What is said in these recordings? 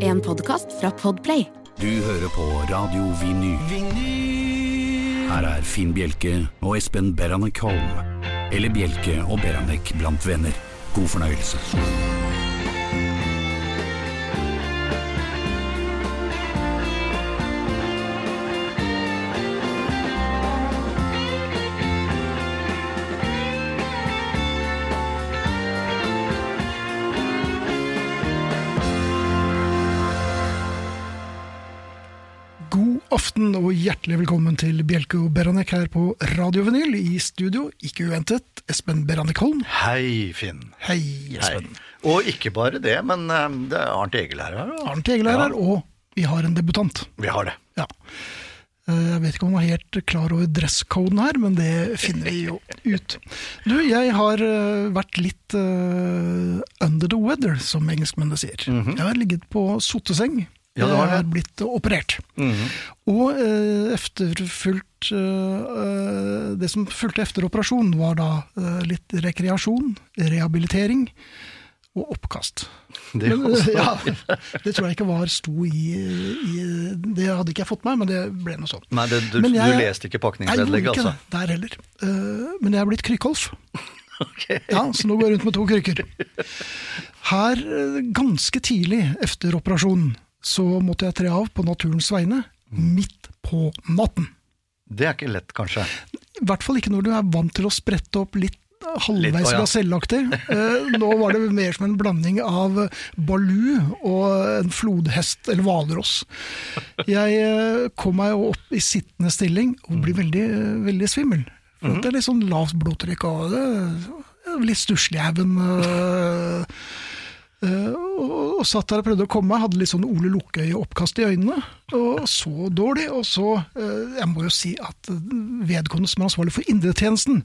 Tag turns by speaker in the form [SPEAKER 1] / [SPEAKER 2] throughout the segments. [SPEAKER 1] En podkast fra Podplay.
[SPEAKER 2] Du hører på Radio Vinyl. Her er Finn Bjelke og Espen Beranek Holm. Eller Bjelke og Beranek blant venner. God fornøyelse.
[SPEAKER 3] God aften og hjertelig velkommen til Bjelke og Beranek her på Radio Vinyl. I studio, ikke uventet, Espen Beranek Holm.
[SPEAKER 4] Hei, Finn.
[SPEAKER 3] Hei,
[SPEAKER 4] Hei.
[SPEAKER 3] Espen.
[SPEAKER 4] Og ikke bare det, men eh, det er Arnt Egil her. ja.
[SPEAKER 3] Arnt Egil er
[SPEAKER 4] Ja,
[SPEAKER 3] her, og vi har en debutant.
[SPEAKER 4] Vi har det.
[SPEAKER 3] Ja. Eh, Jeg vet ikke om han var helt klar over dresskoden her, men det finner vi jo ut. Du, jeg har eh, vært litt eh, under the weather, som engelskmennene sier. Jeg har ligget på sotteseng.
[SPEAKER 4] Mhm. Ja, det Mhm. var
[SPEAKER 3] jeg har
[SPEAKER 4] det.
[SPEAKER 3] blitt operert. Og eh, efterfulgt eh, eh, Det som fulgte efter operasjon, var da eh, litt rekreasjon, rehabilitering og oppkast.
[SPEAKER 4] Det er
[SPEAKER 3] Men,
[SPEAKER 4] også-
[SPEAKER 3] ja, det tror jeg ikke var sto i, i Det hadde ikke jeg fått med meg, men det ble noe sånn.
[SPEAKER 4] Nei, det, du,
[SPEAKER 3] Men jeg-
[SPEAKER 4] du leste ikke
[SPEAKER 3] Jeg gjorde
[SPEAKER 4] pakningsvedlegget,
[SPEAKER 3] ikke
[SPEAKER 4] altså?
[SPEAKER 3] det der heller. Eh, men jeg er blitt Krykholf,
[SPEAKER 4] Ok.
[SPEAKER 3] ja, så nå går jeg rundt med to krykker. Her, eh, ganske tidlig etter operasjonen, så måtte jeg tre av på naturens vegne, midt på natten.
[SPEAKER 4] Det er ikke lett, kanskje.
[SPEAKER 3] I hvert fall ikke når du er vant til å sprette opp litt
[SPEAKER 4] Litt,
[SPEAKER 3] halvveis
[SPEAKER 4] å ja.
[SPEAKER 3] gasellaktig. Eh, nå var det mer som en blanding av balu og en flodhest eller hvalross. Jeg eh, kom meg jo opp i sittende stilling og
[SPEAKER 4] Mm.
[SPEAKER 3] blir veldig, eh, veldig svimmel. For
[SPEAKER 4] Mm-hmm.
[SPEAKER 3] at Det er litt sånn lavt blodtrykk og eh, litt stusslig i haugen. eh, Eh, og, og satt der og prøvde å komme meg, hadde litt sånn Ole Lukkøye-oppkast i øynene. Og så dårlig. Og så eh, Jeg må jo si at vedkommende som er ansvarlig for indretjenesten,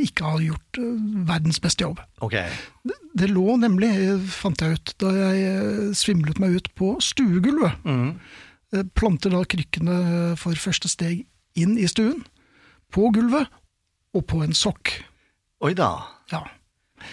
[SPEAKER 3] ikke har gjort eh, verdens beste jobb.
[SPEAKER 4] Ok.
[SPEAKER 3] Det, det lå nemlig, eh, fant jeg ut, da jeg eh, svimlet meg ut på stuegulvet. Eh, Planter da krykkene eh, for første steg inn i stuen, på gulvet og på en sokk.
[SPEAKER 4] Oi da.
[SPEAKER 3] Ja.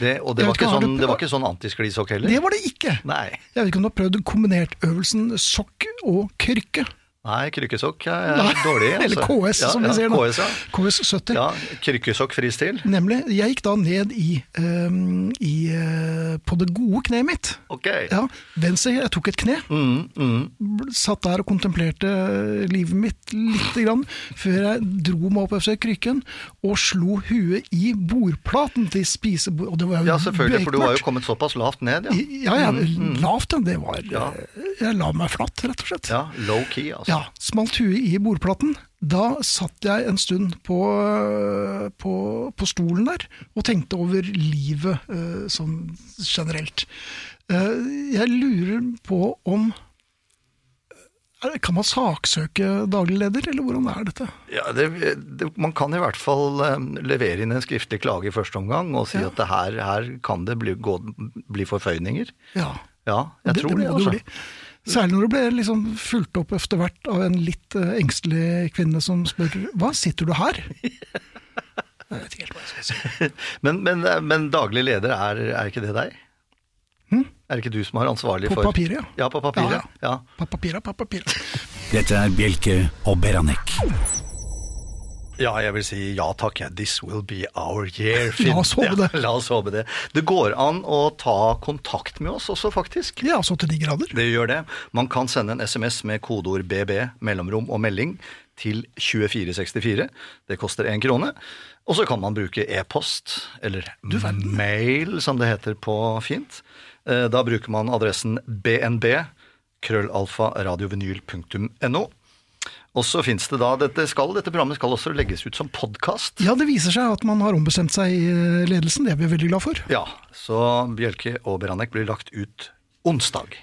[SPEAKER 4] Det, og
[SPEAKER 3] Jeg vet
[SPEAKER 4] det var,
[SPEAKER 3] ikke,
[SPEAKER 4] ikke
[SPEAKER 3] har
[SPEAKER 4] sånn,
[SPEAKER 3] du-
[SPEAKER 4] det var ikke sånn antisklisokk heller?
[SPEAKER 3] Det var det ikke!
[SPEAKER 4] Nei.
[SPEAKER 3] Jeg vet ikke om du har prøvd kombinertøvelsen sokk og krykke?
[SPEAKER 4] Nei, krykkesokk er er dårlig. Altså.
[SPEAKER 3] Eller KS,
[SPEAKER 4] ja,
[SPEAKER 3] som vi
[SPEAKER 4] ja,
[SPEAKER 3] sier nå.
[SPEAKER 4] KS, ja.
[SPEAKER 3] KS 70.
[SPEAKER 4] ja, krykkesokk fristil.
[SPEAKER 3] Nemlig. Jeg gikk da ned i, ehm, i eh, på det gode kneet mitt.
[SPEAKER 4] Ok.
[SPEAKER 3] Ja, venstre, jeg tok et kne.
[SPEAKER 4] Mm, mm.
[SPEAKER 3] bl- Satt der og kontemplerte eh, livet mitt lite grann, før jeg dro meg opp efter krykken og slo huet i bordplaten til spisebordet. Og det var jo
[SPEAKER 4] ja, selvfølgelig, for du var
[SPEAKER 3] bekmørkt.
[SPEAKER 4] jo kommet såpass lavt ned. Ja, Mm,
[SPEAKER 3] Ja, ja, lavt, ja. Det var eh,
[SPEAKER 4] Ja.
[SPEAKER 3] Jeg la meg flatt, rett og slett.
[SPEAKER 4] ja low key, altså.
[SPEAKER 3] Ja, smalt huet i bordplaten. Da satt jeg en stund på, øh, på, på stolen der og tenkte over livet øh, sånn generelt. Eh, jeg lurer på om eh, er- Kan man saksøke daglig leder, eller hvordan er dette?
[SPEAKER 4] Ja, det, det, Man kan i hvert fall eh, levere inn en skriftlig klage i første omgang og si
[SPEAKER 3] Ja.
[SPEAKER 4] at det her, her kan det bli, gå, bli forføyninger.
[SPEAKER 3] Ja,
[SPEAKER 4] Ja, jeg tror det.
[SPEAKER 3] må
[SPEAKER 4] altså.
[SPEAKER 3] bli. Særlig når du ble liksom fulgt opp etter hvert av en litt eh, engstelig kvinne som spør Hva sitter du her? Jeg vet ikke helt hva jeg skal si.
[SPEAKER 4] Men, men, eh, men daglig leder, er, er ikke det deg? Er ikke du som er ansvarlig
[SPEAKER 3] Hm? På
[SPEAKER 4] for
[SPEAKER 3] papiret, ja.
[SPEAKER 4] Ja, på papiret. Ja,
[SPEAKER 3] Papapira, papapira.
[SPEAKER 2] Dette er Bjelke og Beranek.
[SPEAKER 4] ja. jeg vil si ja takk, jeg. This will be our year, Finn.
[SPEAKER 3] La oss håpe det.
[SPEAKER 4] Ja, la oss håpe det. Det går an å ta kontakt med oss også, faktisk.
[SPEAKER 3] Ja, så altså til de grader.
[SPEAKER 4] Det gjør det. Man kan sende en SMS med kodeord BB, mellomrom og melding til 2464. Det koster én krone. Og så kan man bruke e-post, eller mail, som det heter på fint. Eh, Da bruker man adressen bnb, krøllalfa, radiovenyl.no. Og så fins det da dette, skal, dette programmet skal også legges ut som podkast.
[SPEAKER 3] Ja, det viser seg at man har ombestemt seg i eh, ledelsen. Det er vi veldig glad for.
[SPEAKER 4] Ja, så Bjelke og Beranek blir lagt ut onsdag.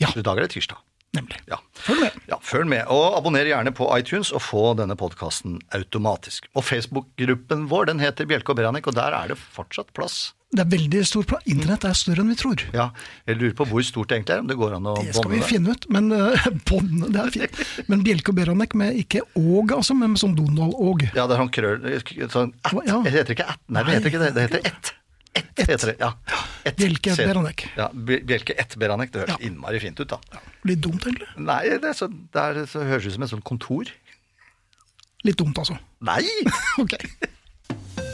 [SPEAKER 3] Ja.
[SPEAKER 4] I dag er det tirsdag.
[SPEAKER 3] Nemlig.
[SPEAKER 4] Ja.
[SPEAKER 3] Følg med.
[SPEAKER 4] Ja, følg med, og abonner gjerne på iTunes og få denne podkasten automatisk. Og Facebook-gruppen vår den heter Bjelke og Beranek, og der er det fortsatt plass.
[SPEAKER 3] Det er veldig stor plan. Internett er større enn vi tror.
[SPEAKER 4] Ja, Jeg lurer på hvor stort det egentlig er, om det går an å
[SPEAKER 3] Det skal vi
[SPEAKER 4] bånde det.
[SPEAKER 3] finne ut. Men uh, bånd, det er fint. Men Bjelke og Beranek med ikke åg, altså, men med sånn Donald-åg.
[SPEAKER 4] Ja, det er sånn krøll sånn, at,
[SPEAKER 3] Ja.
[SPEAKER 4] Det heter ikke at, nei, det heter ikke det, det heter ett. Ett heter det. Ja. Ett
[SPEAKER 3] Bjelke
[SPEAKER 4] seter.
[SPEAKER 3] Beranek.
[SPEAKER 4] Ja, Bj- Bjelke ett Beranek. Det høres
[SPEAKER 3] Ja.
[SPEAKER 4] innmari fint ut, da.
[SPEAKER 3] Litt dumt, egentlig.
[SPEAKER 4] Nei, det, er så, det, er, så høres ut som et sånt kontor.
[SPEAKER 3] Litt dumt, altså.
[SPEAKER 4] Nei!
[SPEAKER 3] Ok.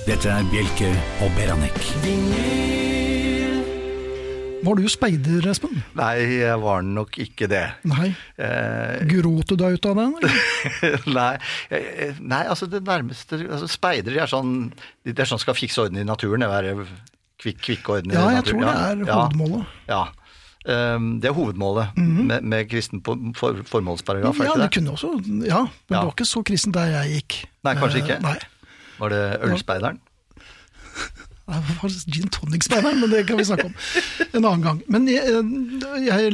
[SPEAKER 2] Dette er Bjelke og Beranek.
[SPEAKER 3] Var du speider, Espen?
[SPEAKER 4] Nei, jeg var nok ikke det.
[SPEAKER 3] Nei.
[SPEAKER 4] Eh,
[SPEAKER 3] Gråt du deg ut av den? eller?
[SPEAKER 4] nei, eh, nei, altså det nærmeste altså Speidere de er sånn de er sånn skal fikse orden i naturen. Være kvikk, kvikke orden i
[SPEAKER 3] Ja, jeg tror det
[SPEAKER 4] naturen.
[SPEAKER 3] er hovedmålet. Mhm.
[SPEAKER 4] Ja. Ehm, det er hovedmålet med, med kristen på- for, formålsparagraf, er
[SPEAKER 3] Ja,
[SPEAKER 4] ikke
[SPEAKER 3] det
[SPEAKER 4] det?
[SPEAKER 3] kunne også. Ja, men det
[SPEAKER 4] Ja.
[SPEAKER 3] var ikke så kristent der jeg gikk.
[SPEAKER 4] Nei, kanskje ikke.
[SPEAKER 3] Eh, Nei.
[SPEAKER 4] Var det Ølspeideren?
[SPEAKER 3] Det var faktisk gin tonic-speideren, men det kan vi snakke om en annen gang. Men jeg, eh, jeg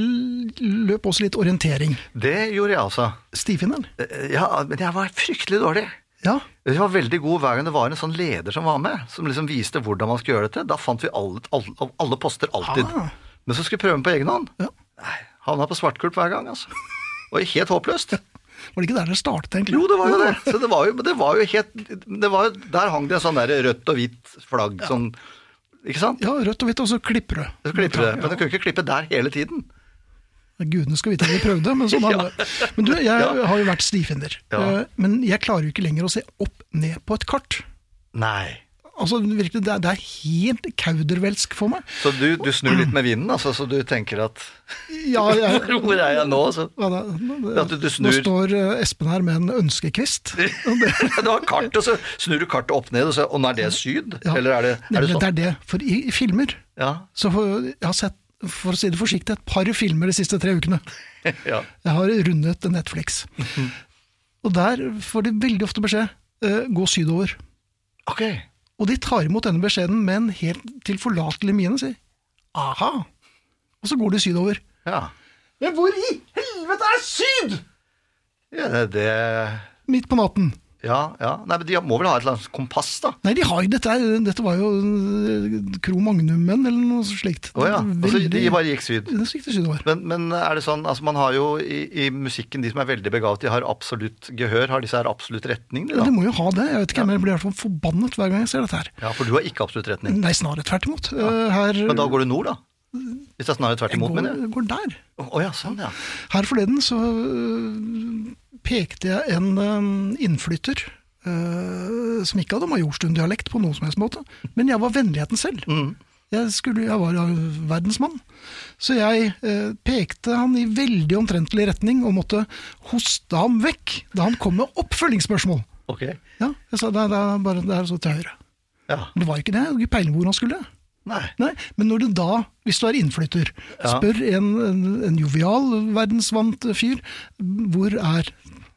[SPEAKER 3] løp også litt orientering.
[SPEAKER 4] Det gjorde jeg altså.
[SPEAKER 3] Stifinneren?
[SPEAKER 4] Eh, Ja, men jeg var fryktelig dårlig.
[SPEAKER 3] Ja.
[SPEAKER 4] Jeg var veldig god hver gang det var en sånn leder som var med, som liksom viste hvordan man skulle gjøre dette. Da fant vi alle, alle, av alle poster alltid.
[SPEAKER 3] Ah.
[SPEAKER 4] Men så skulle vi prøve den på egen hånd.
[SPEAKER 3] ja.
[SPEAKER 4] Nei, Havna på svartkulp hver gang, altså. Og helt håpløst.
[SPEAKER 3] Var det ikke der det startet, egentlig?
[SPEAKER 4] Jo, det var jo det. Så det var jo, det var jo helt det var, jo- Der hang det en sånn der rødt og hvitt flagg sånn Ikke sant?
[SPEAKER 3] Ja, rødt og hvitt, og så klipper du.
[SPEAKER 4] Så klipper det. Men du kunne ikke klippe der hele tiden.
[SPEAKER 3] Gudene skal vite at vi prøvde, men sånn er det. Men du, jeg har jo vært stifinner.
[SPEAKER 4] Ja.
[SPEAKER 3] eh, Men jeg klarer jo ikke lenger å se opp ned på et kart.
[SPEAKER 4] Nei.
[SPEAKER 3] Altså, virkelig, det er, det er helt kaudervelsk for meg.
[SPEAKER 4] Så du, du snur litt med vinden, altså, så du tenker at
[SPEAKER 3] Ja, jeg,
[SPEAKER 4] Hvor er jeg nå? altså? Så,
[SPEAKER 3] ja, da, nå-
[SPEAKER 4] At du- du
[SPEAKER 3] Nå
[SPEAKER 4] snur.
[SPEAKER 3] står eh, Espen her med en ønskekvist.
[SPEAKER 4] du har kart, og så snur du kartet opp ned, og så Og nå er det syd?
[SPEAKER 3] Ja.
[SPEAKER 4] Eller er det, er det
[SPEAKER 3] Nemlig,
[SPEAKER 4] sånn?
[SPEAKER 3] er det. For i, i filmer
[SPEAKER 4] Ja.
[SPEAKER 3] så får- jeg har sett, for å si det forsiktig, et par filmer de siste tre ukene.
[SPEAKER 4] ja.
[SPEAKER 3] Jeg har rundet Netflix.
[SPEAKER 4] Mhm.
[SPEAKER 3] Og der får de veldig ofte beskjed eh, gå sydover.
[SPEAKER 4] Ok.
[SPEAKER 3] Og de tar imot denne beskjeden med en helt tilforlatelig mine og sier aha. Og så går de sydover.
[SPEAKER 4] Ja.
[SPEAKER 3] Men hvor i helvete er syd?!
[SPEAKER 4] ja det, det
[SPEAKER 3] Midt på natten.
[SPEAKER 4] Ja, ja. Nei, men de må vel ha et eller annet kompass, da.
[SPEAKER 3] Nei, de har jo dette her. Dette var jo eh, Kro Magnum-menn eller noe slikt.
[SPEAKER 4] Å ja. Altså,
[SPEAKER 3] Mm, Veldig-
[SPEAKER 4] de bare gikk syd.
[SPEAKER 3] Det svikter sydover.
[SPEAKER 4] Men, men er det sånn, altså man har jo i, i musikken de som er veldig begavet, de har absolutt gehør. Har disse her absolutt retning, de
[SPEAKER 3] Ja, de
[SPEAKER 4] da?
[SPEAKER 3] må jo ha det. Jeg vet ikke, men jeg blir i hvert fall forbannet hver gang jeg ser dette her.
[SPEAKER 4] Ja, for du har ikke absolutt retning.
[SPEAKER 3] Mm. Nei, snarere tvert imot. Eh, Her
[SPEAKER 4] Men da går du nord, da? Hvis det er snarere tvert
[SPEAKER 3] jeg
[SPEAKER 4] imot,
[SPEAKER 3] går,
[SPEAKER 4] mener jeg.
[SPEAKER 3] går der.
[SPEAKER 4] Å ja, sånn, ja.
[SPEAKER 3] Her forleden så øh, pekte jeg en øh, innflytter øh, som ikke hadde majorstunddialekt på noen som helst måte, men jeg var vennligheten selv.
[SPEAKER 4] Mm.
[SPEAKER 3] Jeg, skulle, jeg var øh, verdensmann. Så jeg øh, pekte han i veldig omtrentlig retning og måtte hoste ham vekk da han kom med oppfølgingsspørsmål.
[SPEAKER 4] Ok.
[SPEAKER 3] Ja, jeg sa det er- det er bare det er så til høyre.
[SPEAKER 4] Ja.
[SPEAKER 3] Men det var ikke det, jeg hadde ikke peiling på hvor han skulle.
[SPEAKER 4] Nei.
[SPEAKER 3] Nei, men når du da, hvis du er innflytter,
[SPEAKER 4] Ja.
[SPEAKER 3] spør en, en, en jovial, verdensvant fyr hvor er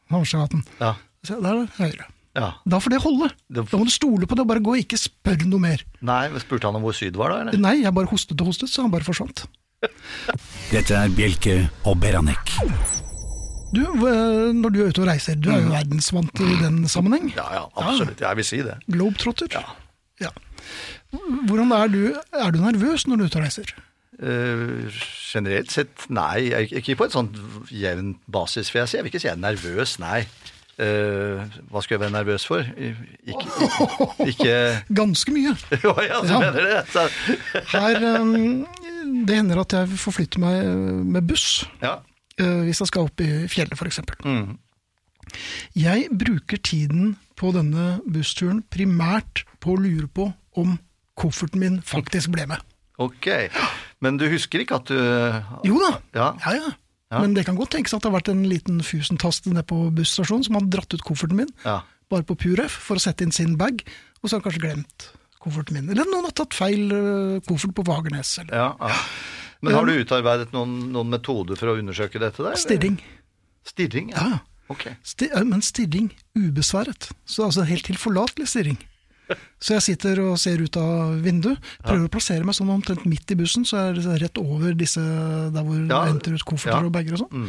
[SPEAKER 3] Hamstergaten?
[SPEAKER 4] Ja.
[SPEAKER 3] Så Der er det høyre.
[SPEAKER 4] ja.
[SPEAKER 3] Da får det holde.
[SPEAKER 4] Det-
[SPEAKER 3] Da må du stole på det, bare gå, ikke spør noe mer.
[SPEAKER 4] Nei, men spurte han om hvor syd var, da? eller?
[SPEAKER 3] Nei, jeg bare hostet og hostet, så han bare forsvant.
[SPEAKER 2] Dette er Bjelke og Beranek.
[SPEAKER 3] Du, eh, når du er ute og reiser, du er jo verdensvant i den sammenheng.
[SPEAKER 4] Ja, ja, absolutt. Jeg vil si det.
[SPEAKER 3] Globetrotter. Ja. Hvordan er du, er du nervøs når du er ute og reiser?
[SPEAKER 4] Eh, generelt sett, nei. Jeg, ikke på et sånt jevn basis, for jeg, sier- jeg vil ikke si jeg er nervøs, nei. Eh, hva skulle jeg være nervøs for? I- Ikke, ikke, ikke
[SPEAKER 3] Ganske mye.
[SPEAKER 4] Hva er det jeg som
[SPEAKER 3] Ja.
[SPEAKER 4] mener det? Så,
[SPEAKER 3] Her, eh, det hender at jeg forflytter meg eh, med buss.
[SPEAKER 4] ja.
[SPEAKER 3] Eh, hvis jeg skal opp i fjellet f.eks. eksempel.
[SPEAKER 4] Mm.
[SPEAKER 3] Jeg bruker tiden på denne bussturen primært på å lure på om kofferten min faktisk ble med.
[SPEAKER 4] Ok. Men du husker ikke at du
[SPEAKER 3] Jo da,
[SPEAKER 4] Ja.
[SPEAKER 3] ja, ja.
[SPEAKER 4] Ja.
[SPEAKER 3] Men det kan godt tenkes at det har vært en liten fusentast nede på busstasjonen som har dratt ut kofferten min,
[SPEAKER 4] Ja.
[SPEAKER 3] bare på pur F, for å sette inn sin bag, og så har han kanskje glemt kofferten min. Eller noen har tatt feil eh, koffert på Fagernes. Eller.
[SPEAKER 4] ja, ja. Men har du utarbeidet noen, noen metode for å undersøke dette der? eller?
[SPEAKER 3] Stirring.
[SPEAKER 4] Stirring, ja.
[SPEAKER 3] Ja.
[SPEAKER 4] Ok.
[SPEAKER 3] Sti eh, men stirring ubesværet. Så altså helt tilforlatelig stirring. Så jeg sitter og ser ut av vinduet. Prøver å plassere meg sånn omtrent midt i bussen, så jeg er rett over disse der hvor
[SPEAKER 4] Ja.
[SPEAKER 3] det henter ut kofferter
[SPEAKER 4] Ja. Mm.
[SPEAKER 3] og bager og sånn.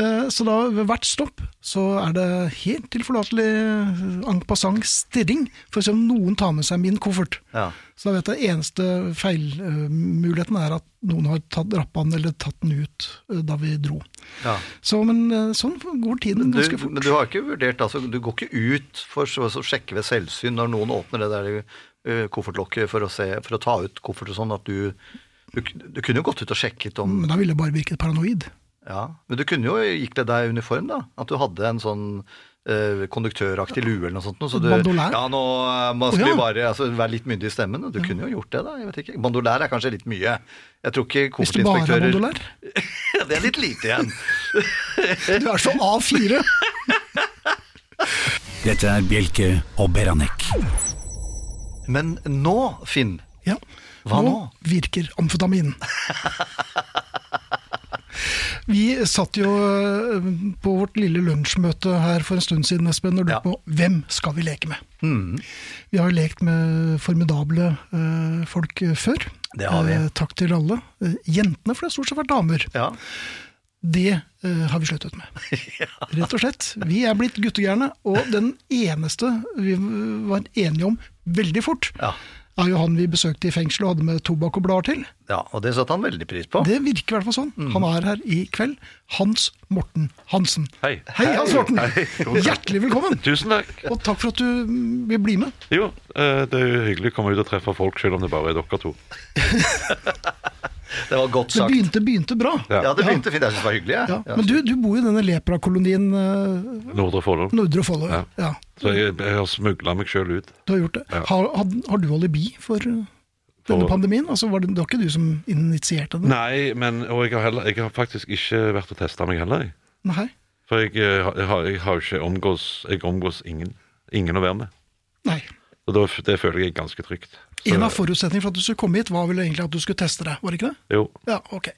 [SPEAKER 3] Eh, Så da ved hvert stopp så er det helt tilforlatelig eh, en passant stirring for å se om noen tar med seg min koffert.
[SPEAKER 4] Ja.
[SPEAKER 3] Så da vet jeg eneste feilmuligheten er at noen har tatt rappa den eller tatt den ut eh, da vi dro.
[SPEAKER 4] ja.
[SPEAKER 3] Så, men eh, sånn går tiden
[SPEAKER 4] Du,
[SPEAKER 3] ganske fort.
[SPEAKER 4] men du har ikke vurdert, altså, du går ikke ut for så, så å sjekke ved selvsyn når noen åpner det der eh, koffertlokket for å, se, for å ta ut kofferter sånn at du, du Du kunne jo gått ut og sjekket om
[SPEAKER 3] Men da ville det bare virket paranoid.
[SPEAKER 4] ja, Men du kunne jo ikle deg uniform, da. At du hadde en sånn eh, konduktøraktig lue eller noe sånt. noe, Så du,
[SPEAKER 3] Bandolær?
[SPEAKER 4] Ja, nå eh, man skulle
[SPEAKER 3] Å, ja.
[SPEAKER 4] bare altså, være litt myndig i stemmen. og Du kunne jo gjort det, da. jeg vet ikke. Bandolær er kanskje litt mye. Jeg tror ikke
[SPEAKER 3] Hvis du bare er
[SPEAKER 4] koffertinspektører
[SPEAKER 3] modulær.
[SPEAKER 4] Det er litt lite igjen.
[SPEAKER 3] Du er så A4!
[SPEAKER 2] Dette er Bjelke og Beranek.
[SPEAKER 4] Men nå, Finn
[SPEAKER 3] Ja.
[SPEAKER 4] Hva nå?
[SPEAKER 3] virker amfetamin. Vi satt jo eh, på vårt lille lunsjmøte her for en stund siden, Espen, og
[SPEAKER 4] Ja.
[SPEAKER 3] lurte
[SPEAKER 4] Mm.
[SPEAKER 3] på hvem skal vi leke med? Vi har jo lekt med formidable eh, folk eh, før.
[SPEAKER 4] Det har vi.
[SPEAKER 3] Eh, takk til alle. Eh, jentene, for det har stort sett vært damer.
[SPEAKER 4] Ja.
[SPEAKER 3] Det eh, har vi sluttet med. Rett og slett. Vi er blitt guttegærne, og den eneste vi var enige om veldig fort,
[SPEAKER 4] Ja.
[SPEAKER 3] er jo han vi besøkte i fengsel og hadde med tobakk og blader til.
[SPEAKER 4] ja, og det satte han veldig pris på.
[SPEAKER 3] Det virker i hvert fall sånn. Han er her i kveld. Hans Morten Hansen.
[SPEAKER 5] Hei.
[SPEAKER 3] Hei, Hans Morten.
[SPEAKER 5] Hei.
[SPEAKER 3] Hjertelig velkommen.
[SPEAKER 5] Tusen takk.
[SPEAKER 3] Og takk for at du mm, vil bli med.
[SPEAKER 5] Jo, eh, det er jo hyggelig å komme ut og treffe folk, selv om det bare er dere to.
[SPEAKER 4] Det var godt
[SPEAKER 3] Det
[SPEAKER 4] sagt.
[SPEAKER 3] begynte, begynte bra.
[SPEAKER 5] Ja.
[SPEAKER 4] Ja, det begynte fint. Jeg syns det var hyggelig. jeg.
[SPEAKER 3] Ja.
[SPEAKER 4] Ja.
[SPEAKER 3] Men du, du bor jo i denne leprakolonien eh,
[SPEAKER 5] Nordre Follo.
[SPEAKER 3] Nordre Follo. Ja.
[SPEAKER 5] Ja. Så jeg, jeg har smugla meg sjøl ut.
[SPEAKER 3] Du har gjort det.
[SPEAKER 5] Ja.
[SPEAKER 3] Har, had- har du alibi for uh, denne
[SPEAKER 5] For-
[SPEAKER 3] pandemien? Altså, var det, det var ikke du som initierte den?
[SPEAKER 5] Nei, men og jeg har, heller, jeg har faktisk ikke vært og testa meg heller. jeg.
[SPEAKER 3] Nei.
[SPEAKER 5] For jeg, eh, har- jeg har jeg har jo ikke omgås Jeg omgås ingen. Ingen å være med.
[SPEAKER 3] Nei.
[SPEAKER 5] Og da, f- det føler jeg er ganske trygt. Så-
[SPEAKER 3] En av forutsetningene for at du skulle komme hit, var vel egentlig at du skulle teste deg, var det ikke det?
[SPEAKER 5] Jo.
[SPEAKER 3] Ja, ok.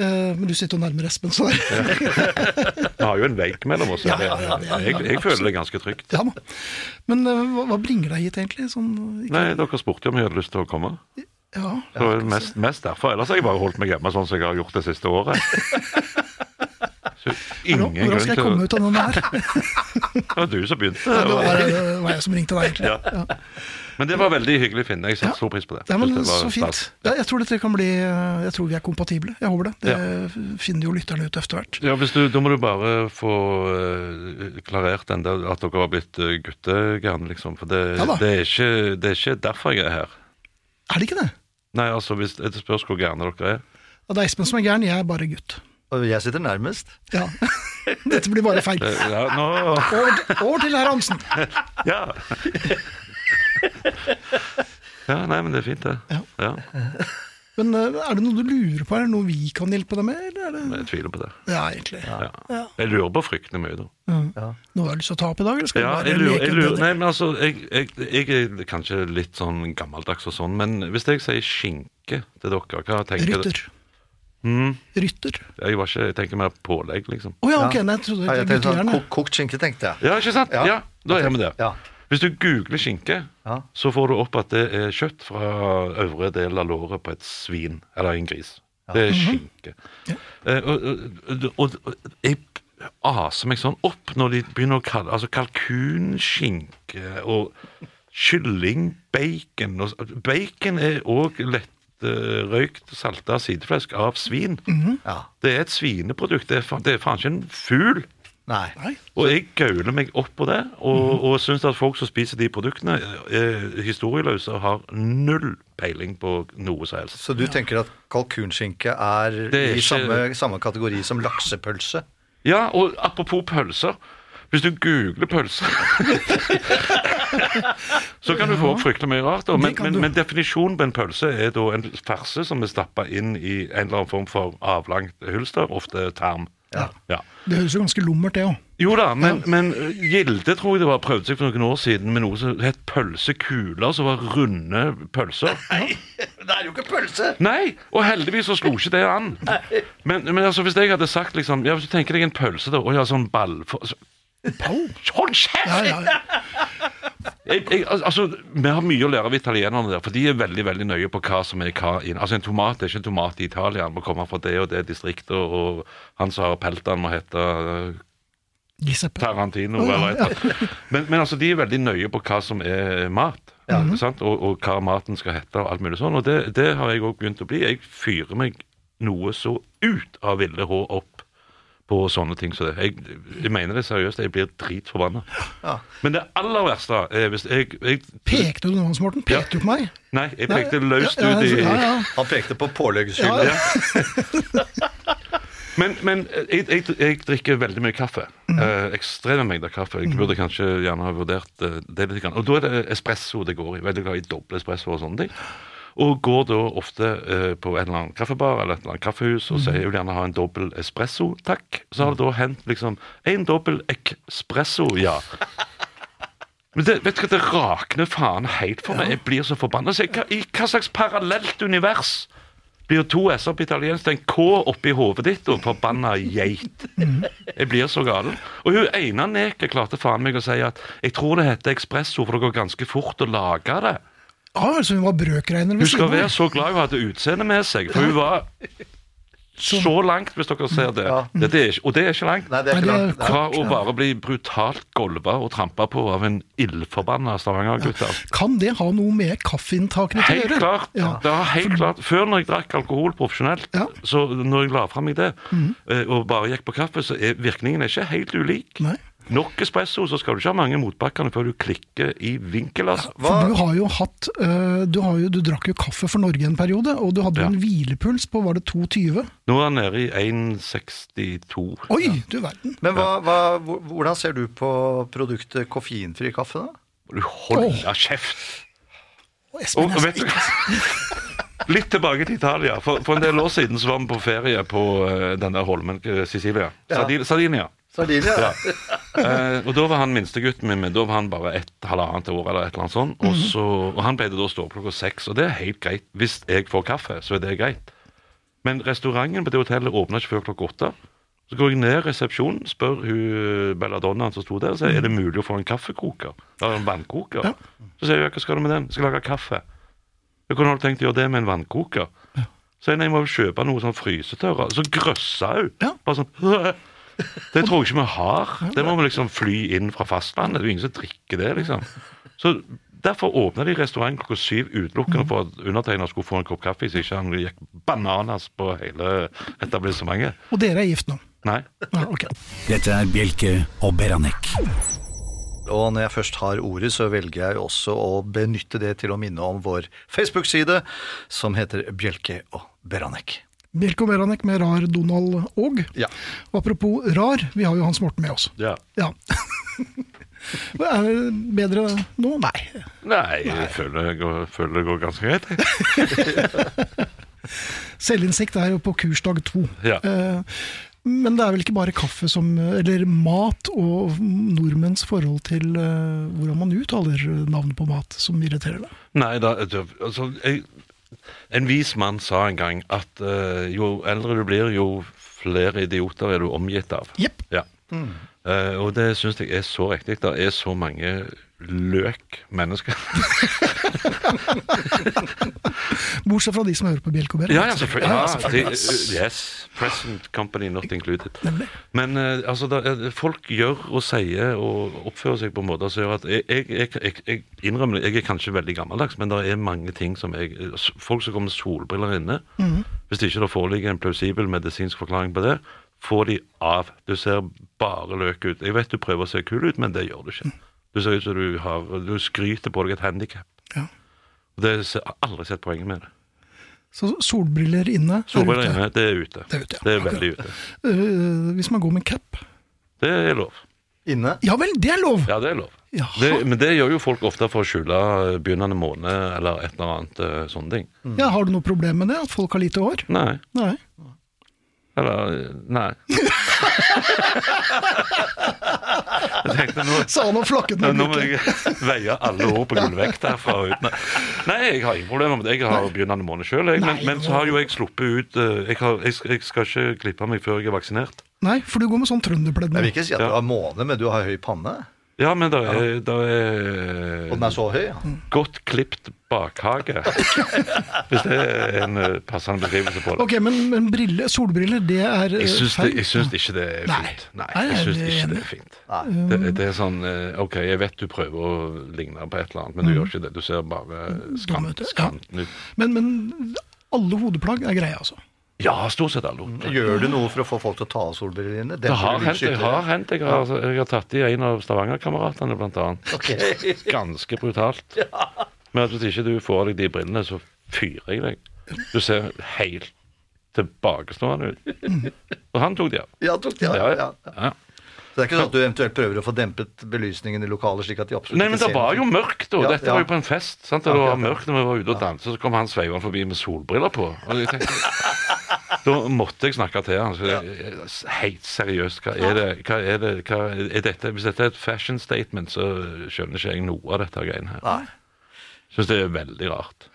[SPEAKER 3] Eh, men du sitter jo nærmere Espen, så
[SPEAKER 5] Vi har jo en vegg mellom oss.
[SPEAKER 3] Ja,
[SPEAKER 5] det-
[SPEAKER 3] ja, ja, ja, ja,
[SPEAKER 5] jeg, jeg føler det ganske trygt.
[SPEAKER 3] Ja da. Men eh, hva, hva bringer deg hit, egentlig? Sånn, ikke-
[SPEAKER 5] Nei, Dere spurte jo om jeg hadde lyst til å komme.
[SPEAKER 3] Ja.
[SPEAKER 5] Det var mest, mest derfor. Ellers har jeg bare holdt meg hjemme sånn som jeg har gjort det siste året. Så ingen
[SPEAKER 3] Hvordan, hvordan
[SPEAKER 5] grunn
[SPEAKER 3] skal jeg
[SPEAKER 5] til å
[SPEAKER 3] komme ut av denne her?
[SPEAKER 5] Det var du som begynte.
[SPEAKER 3] Det var, det var jeg som ringte deg, egentlig. Ja.
[SPEAKER 5] Men det var veldig hyggelig, Finn.
[SPEAKER 3] Ja.
[SPEAKER 5] Jeg setter stor pris på det.
[SPEAKER 3] Ja, men
[SPEAKER 5] Synes det var
[SPEAKER 3] Så fint.
[SPEAKER 5] stas.
[SPEAKER 3] Ja, jeg tror dette kan bli eh, Jeg tror vi er kompatible. Jeg håper det. Det finner jo lytterne ut etter hvert.
[SPEAKER 5] Ja, hvis du, Da må du bare få eh, klarert den der at dere har blitt eh, guttegærne, liksom. For det,
[SPEAKER 3] Ja da.
[SPEAKER 5] det, er ikke, det er ikke derfor jeg er her.
[SPEAKER 3] Er det ikke det?
[SPEAKER 5] Nei, altså, hvis Det spørs hvor gærne dere er.
[SPEAKER 3] Ja, Det er Espen som er gæren, jeg er bare gutt.
[SPEAKER 4] Og jeg sitter nærmest.
[SPEAKER 3] Ja. Dette blir bare feil.
[SPEAKER 5] Det, ja, nå...
[SPEAKER 3] Over, til- over til herr Hansen.
[SPEAKER 5] Ja. ja, nei, men det er fint, det.
[SPEAKER 3] Ja.
[SPEAKER 5] Ja,
[SPEAKER 3] Men eh, er det noe du lurer på? Er det noe vi kan hjelpe deg med? Eller er det...
[SPEAKER 5] men Jeg tviler på det.
[SPEAKER 3] Ja, egentlig.
[SPEAKER 5] Ja.
[SPEAKER 3] Ja.
[SPEAKER 5] Jeg lurer på fryktelig mye, da.
[SPEAKER 3] Noe du har lyst til å ta opp i dag? Eller skal
[SPEAKER 5] Ja,
[SPEAKER 3] du bare
[SPEAKER 5] jeg lurer,
[SPEAKER 3] leke
[SPEAKER 5] jeg
[SPEAKER 3] med
[SPEAKER 5] lurer,
[SPEAKER 3] det?
[SPEAKER 5] nei, men altså, jeg, jeg, jeg er kanskje litt sånn gammeldags og sånn, men hvis jeg sier skinke til dere, hva tenker dere?
[SPEAKER 3] Rytter.
[SPEAKER 5] Mm.
[SPEAKER 3] Rytter.
[SPEAKER 5] Jeg, var ikke, jeg tenker mer pålegg, liksom.
[SPEAKER 3] Å ja, ok, nei, jeg trodde
[SPEAKER 4] Ja,
[SPEAKER 3] det
[SPEAKER 4] jeg
[SPEAKER 3] var
[SPEAKER 4] tenkte sånn,
[SPEAKER 3] guttegjerne.
[SPEAKER 4] kok- Kokt skinke, tenkte jeg.
[SPEAKER 5] Ja, ikke sant?
[SPEAKER 4] Ja.
[SPEAKER 5] Ja, da er vi der.
[SPEAKER 4] Ja.
[SPEAKER 5] Hvis du googler skinke,
[SPEAKER 4] Ja.
[SPEAKER 5] så får du opp at det er kjøtt fra øvre del av låret på et svin, eller en gris. Det er skinke. Eh, og, og, og, og jeg aser meg sånn opp når de begynner å kalle altså kalkunskinke og kylling, bacon og, Bacon er òg lett eh, røykt salta sideflesk av svin.
[SPEAKER 4] Ja.
[SPEAKER 5] Det er et svineprodukt. Det er, fa- det er faen ikke en fugl.
[SPEAKER 4] Nei.
[SPEAKER 3] Nei.
[SPEAKER 5] Og jeg gauler meg opp på det, og,
[SPEAKER 3] Mhm.
[SPEAKER 5] og syns at folk som spiser de produktene, er historieløse og har null peiling på noe som helst.
[SPEAKER 4] Så du tenker at kalkunskinke er,
[SPEAKER 5] er
[SPEAKER 4] i
[SPEAKER 5] ikke-
[SPEAKER 4] samme, samme kategori som laksepølse?
[SPEAKER 5] Ja, og apropos pølser. Hvis du googler pølser Så kan du få opp fryktelig mye rart. Da. Men,
[SPEAKER 3] Det kan
[SPEAKER 5] men,
[SPEAKER 3] du.
[SPEAKER 5] men definisjonen på en pølse er da en ferse som er stappa inn i en eller annen form for avlangt hylster, ofte tarm. Ja.
[SPEAKER 3] Det høres jo ganske lummert, det òg.
[SPEAKER 5] Jo da, men, men eh, Gilde tror jeg det var prøvde seg for noen år siden med noe som het pølsekuler, som var runde pølser.
[SPEAKER 4] Det er jo ikke pølse!
[SPEAKER 5] Nei, og heldigvis så slo ikke det an. Men, men altså, hvis jeg hadde sagt liksom ja, Hvis du tenker deg en pølse, da, og ja, sånn ball for, så, Hold kjeft!
[SPEAKER 3] Ja, ja, ja.
[SPEAKER 5] Jeg, jeg, al- altså, vi har mye å lære av italienerne der, for de er veldig veldig nøye på hva som er hva. i- Altså, En tomat er ikke en tomat i Italia. Den må komme fra det og det distriktet, og han som har pelt den, må hete øh,
[SPEAKER 3] Giuseppe.
[SPEAKER 5] Tarantino.
[SPEAKER 3] Å, ja,
[SPEAKER 5] eller et eller annet. Men, men altså, de er veldig nøye på hva som er mat, ikke sant? Og, og hva maten skal hete, og alt mulig sånn. Og det, det har jeg òg begynt å bli. Jeg fyrer meg noe så ut av ville hå opp på sånne ting som det. Jeg, jeg mener det seriøst, jeg blir dritforbanna.
[SPEAKER 4] Ja.
[SPEAKER 5] Men det aller verste er hvis jeg, jeg
[SPEAKER 3] Pekte du nå, Hans Morten?
[SPEAKER 5] Ja.
[SPEAKER 3] Pekte du på meg?
[SPEAKER 5] Nei, jeg pekte
[SPEAKER 3] Nei,
[SPEAKER 5] løst
[SPEAKER 3] ja, ja,
[SPEAKER 5] ut i
[SPEAKER 3] ja, ja.
[SPEAKER 4] Han pekte på påleggsskylda.
[SPEAKER 3] Ja,
[SPEAKER 5] Ja. Men, men eh, jeg, jeg, jeg drikker veldig mye kaffe. Eh, ekstreme mengder kaffe. Jeg burde kanskje gjerne ha vurdert eh, det litt. Grann. Og da er det espresso det går i. Veldig glad i doble espresso og sånne ting. Og går da ofte eh, på en eller annen kaffebar eller et eller annet kaffehus og sier jeg vil gjerne ha en dobbel espresso, takk. Så har det da hendt liksom en dobbel espresso, ja. Men det, vet du hva, det rakner faen helt for meg. Jeg blir så forbanna. Så jeg- hva- I hva slags parallelt univers blir to s-er på italiensk til en k oppi hodet ditt, og forbanna geit. Jeg blir så galen. Og hun ene neket klarte faen meg å si at jeg tror det heter espresso, for det går ganske fort å lage det.
[SPEAKER 3] Ja, altså hun var brøkregner
[SPEAKER 5] Hun
[SPEAKER 3] ved
[SPEAKER 5] skal
[SPEAKER 3] siden
[SPEAKER 5] være
[SPEAKER 3] av.
[SPEAKER 5] så glad hun hadde utseendet med seg, for hun var så langt, hvis dere ser det.
[SPEAKER 4] Ja.
[SPEAKER 5] det, det er ikke, og det er ikke langt.
[SPEAKER 4] Nei, det er
[SPEAKER 3] Nei,
[SPEAKER 4] ikke
[SPEAKER 3] det er-
[SPEAKER 4] langt. Nei.
[SPEAKER 5] Fra å bare bli brutalt golva og trampa på av en ildforbanna Stavanger-gutt. altså.
[SPEAKER 3] Kan det ha noe med kaffeinntakene til å
[SPEAKER 5] Helt
[SPEAKER 3] gjøre?
[SPEAKER 5] klart.
[SPEAKER 3] Ja.
[SPEAKER 5] Det var helt klart. Før når jeg drakk alkohol profesjonelt,
[SPEAKER 3] Ja. Mhm.
[SPEAKER 5] så når jeg la fra meg det, eh, og bare gikk på kaffe, så er virkningen er ikke helt ulik.
[SPEAKER 3] Nei.
[SPEAKER 5] Nok espresso, så skal du ikke ha mange motbakkene før du klikker i vinkel. Altså.
[SPEAKER 4] Hva-
[SPEAKER 3] For du har jo hatt øh, du, har jo, du drakk jo kaffe for Norge en periode, og du hadde jo
[SPEAKER 5] Ja.
[SPEAKER 3] en hvilepuls på var det 2,20?
[SPEAKER 5] Nå er han nede i 1,62.
[SPEAKER 3] Oi, du verden!
[SPEAKER 4] Men hva, hva, hvor- hvordan ser du på produktet koffeinfri kaffe, da?
[SPEAKER 5] Du holder kjeft!
[SPEAKER 3] Og
[SPEAKER 5] Og,
[SPEAKER 3] Espen,
[SPEAKER 5] og
[SPEAKER 3] jeg-
[SPEAKER 5] vet du Litt tilbake til Italia. For, for en del år siden så var vi på ferie på eh, denne holmen eh, Sicilia.
[SPEAKER 4] Ja.
[SPEAKER 5] Sardin- Sardinia.
[SPEAKER 4] Sardinia? Ja.
[SPEAKER 5] Eh, og da var han minstegutten min, men da var han bare et halvannet år eller et eller annet sånt.
[SPEAKER 3] Mhm.
[SPEAKER 5] Og, så, og han pleide da å stå opp klokka seks, og det er helt greit. Hvis jeg får kaffe, så er det greit. Men restauranten på det hotellet åpna ikke før klokka åtte. Så går jeg ned i resepsjonen, spør hun belladonnaen som sto der, så er det mulig å få en kaffekoker. Eller en vannkoker.
[SPEAKER 3] Ja.
[SPEAKER 5] Så sier jeg hva skal du med den? Jeg skal lage kaffe. Jeg kunne du tenkt å gjøre det med en vannkoker. Så jeg, nei, jeg må jo kjøpe noe sånn frysetørre. Så grøssa hun.
[SPEAKER 3] Ja.
[SPEAKER 5] Bare sånn Det tror jeg ikke vi har. Det må vi liksom fly inn fra fastlandet. Det er jo ingen som drikker det, liksom. Så Derfor åpna de restauranten klokka syv utelukkende for at undertegner skulle få en kopp kaffe, så ikke han gikk bananas på hele etablissementet.
[SPEAKER 3] og dere er gift nå?
[SPEAKER 5] Nei.
[SPEAKER 3] Ja, ok.
[SPEAKER 2] Dette er Bjelke og Beranek.
[SPEAKER 4] Og når jeg først har ordet, så velger jeg også å benytte det til å minne om vår Facebook-side, som heter Bjelke og Beranek.
[SPEAKER 3] Bjelke og Beranek med rar Donald Aag.
[SPEAKER 4] Ja.
[SPEAKER 3] Og apropos rar, vi har jo Hans Morten med oss.
[SPEAKER 5] Ja.
[SPEAKER 3] Ja. er det bedre nå? Nei.
[SPEAKER 5] Nei, jeg føler det går, føler det går ganske greit. jeg.
[SPEAKER 3] Selvinnsikt er jo på kursdag to.
[SPEAKER 5] Ja.
[SPEAKER 3] Eh, Men det er vel ikke bare kaffe som Eller mat og nordmenns forhold til eh, hvordan man uttaler navn på mat, som irriterer deg.
[SPEAKER 5] Nei, da, det- altså, jeg, en vis mann sa en gang at eh, jo eldre du blir, jo flere idioter er du omgitt av.
[SPEAKER 3] Jepp.
[SPEAKER 5] Ja. Eh, og det syns jeg er så riktig. Det er så mange løk mennesker.
[SPEAKER 3] Bortsett fra de som hører på Bjelke og Bjerke.
[SPEAKER 5] ja, ja, selvfølgelig. Ja, det- yes. Present company not included. Men eh, altså, da, eh, folk gjør og sier og oppfører seg på måter som gjør at jeg, jeg, jeg, jeg, jeg innrømmer det, jeg er kanskje veldig gammeldags, men det er mange ting som jeg s- Folk som kommer med solbriller inne, hvis det ikke da foreligger en plausibel medisinsk forklaring på det, får de av. Du ser bare løk ut. Jeg vet du prøver å se kul ut, men det gjør du ikke. Du ser ut som du har Du skryter på deg et handikap.
[SPEAKER 3] Ja.
[SPEAKER 5] Det jeg har aldri sett poenget med det.
[SPEAKER 3] Så solbriller inne. er
[SPEAKER 5] Solbriller
[SPEAKER 3] ute.
[SPEAKER 5] inne, det er ute.
[SPEAKER 3] Det er ute, ja.
[SPEAKER 5] Det er veldig ute.
[SPEAKER 3] Eh, hvis man går med cap.
[SPEAKER 5] Det er lov.
[SPEAKER 4] Inne.
[SPEAKER 3] Ja vel, det er lov!
[SPEAKER 5] Ja, det er lov.
[SPEAKER 3] Jaha.
[SPEAKER 5] Det, men det gjør jo folk ofte for å skjule eh, begynnende måned eller et eller annet eh, sånne ting.
[SPEAKER 3] Ja, har du noe problem med det? At folk har lite hår?
[SPEAKER 5] Nei.
[SPEAKER 3] Nei.
[SPEAKER 5] Eller eh, Nei. Jeg tenkte nå
[SPEAKER 3] Sa han og flakket
[SPEAKER 5] nå
[SPEAKER 3] med
[SPEAKER 5] må
[SPEAKER 3] blikket.
[SPEAKER 5] jeg veie alle ord på gullvekt herfra. Uten. Nei, jeg har ingen problemer med det. Jeg har begynnende måned sjøl. Men,
[SPEAKER 3] Nei,
[SPEAKER 5] men så har jo jeg sluppet ut eh, jeg, har, jeg, skal- jeg skal ikke klippe meg før jeg er vaksinert.
[SPEAKER 3] Nei, for du går med sånn trønderpledd
[SPEAKER 4] Jeg vil
[SPEAKER 3] nå.
[SPEAKER 4] ikke si at du har måne, men du har høy panne.
[SPEAKER 5] Ja, men det er, der
[SPEAKER 4] Og den
[SPEAKER 5] er
[SPEAKER 4] er så høy. ja.
[SPEAKER 5] godt klipt bakhage. Hvis det er en eh, passende beskrivelse på det.
[SPEAKER 3] Ok, men, men brille, solbriller, det er eh,
[SPEAKER 5] Jeg syns, det,
[SPEAKER 3] feil.
[SPEAKER 5] jeg syns ikke det er
[SPEAKER 3] Nei.
[SPEAKER 5] fint. Nei,
[SPEAKER 3] Nei,
[SPEAKER 5] jeg
[SPEAKER 3] jeg
[SPEAKER 5] syns
[SPEAKER 3] er
[SPEAKER 5] ikke
[SPEAKER 3] enig.
[SPEAKER 5] det er fint.
[SPEAKER 4] Nei.
[SPEAKER 5] Det, det er sånn eh, OK, jeg vet du prøver å ligne på et eller annet, men du gjør ikke det. Du ser bare
[SPEAKER 3] Dum Mm. ut,
[SPEAKER 5] skant,
[SPEAKER 3] ja.
[SPEAKER 5] skanten ut.
[SPEAKER 3] Men, men alle hodeplagg er greie, altså.
[SPEAKER 5] Ja, stort sett alle.
[SPEAKER 4] Gjør du noe for å få folk til å ta av solbrillene?
[SPEAKER 5] Det
[SPEAKER 4] Demper
[SPEAKER 5] har
[SPEAKER 4] du
[SPEAKER 5] hendt. Jeg
[SPEAKER 4] lysskyttere?
[SPEAKER 5] har hendt. Jeg har, jeg har tatt i en av Stavanger-kameratene, blant annet.
[SPEAKER 4] Ok.
[SPEAKER 5] Ganske brutalt. Men at hvis ikke du får deg de brillene, så fyrer jeg deg. Du ser helt tilbakestående ut. Og han tok de av.
[SPEAKER 4] Ja, tok, ja, ja, ja.
[SPEAKER 5] Ja.
[SPEAKER 4] Så det er ikke sånn at du eventuelt prøver å få dempet belysningen i lokalet? slik at de absolutt
[SPEAKER 5] Nei, men
[SPEAKER 4] ikke
[SPEAKER 5] det
[SPEAKER 4] ser
[SPEAKER 5] var jo
[SPEAKER 4] noe?
[SPEAKER 5] mørkt, og
[SPEAKER 4] Ja,
[SPEAKER 5] dette
[SPEAKER 4] ja.
[SPEAKER 5] var jo på en fest. sant? Og
[SPEAKER 4] Ja,
[SPEAKER 5] det
[SPEAKER 4] ja,
[SPEAKER 5] var
[SPEAKER 4] ja.
[SPEAKER 5] mørkt når vi var ute og danset, så kom han sveivende forbi med solbriller på. Og jeg tenkte, Da måtte jeg snakke til han. Så jeg, helt seriøst, hva er det? Hva er det? Hva er dette? Hvis dette er et fashion statement, så skjønner ikke jeg noe av dette greiene her.
[SPEAKER 4] Nei.
[SPEAKER 5] Syns det er veldig rart.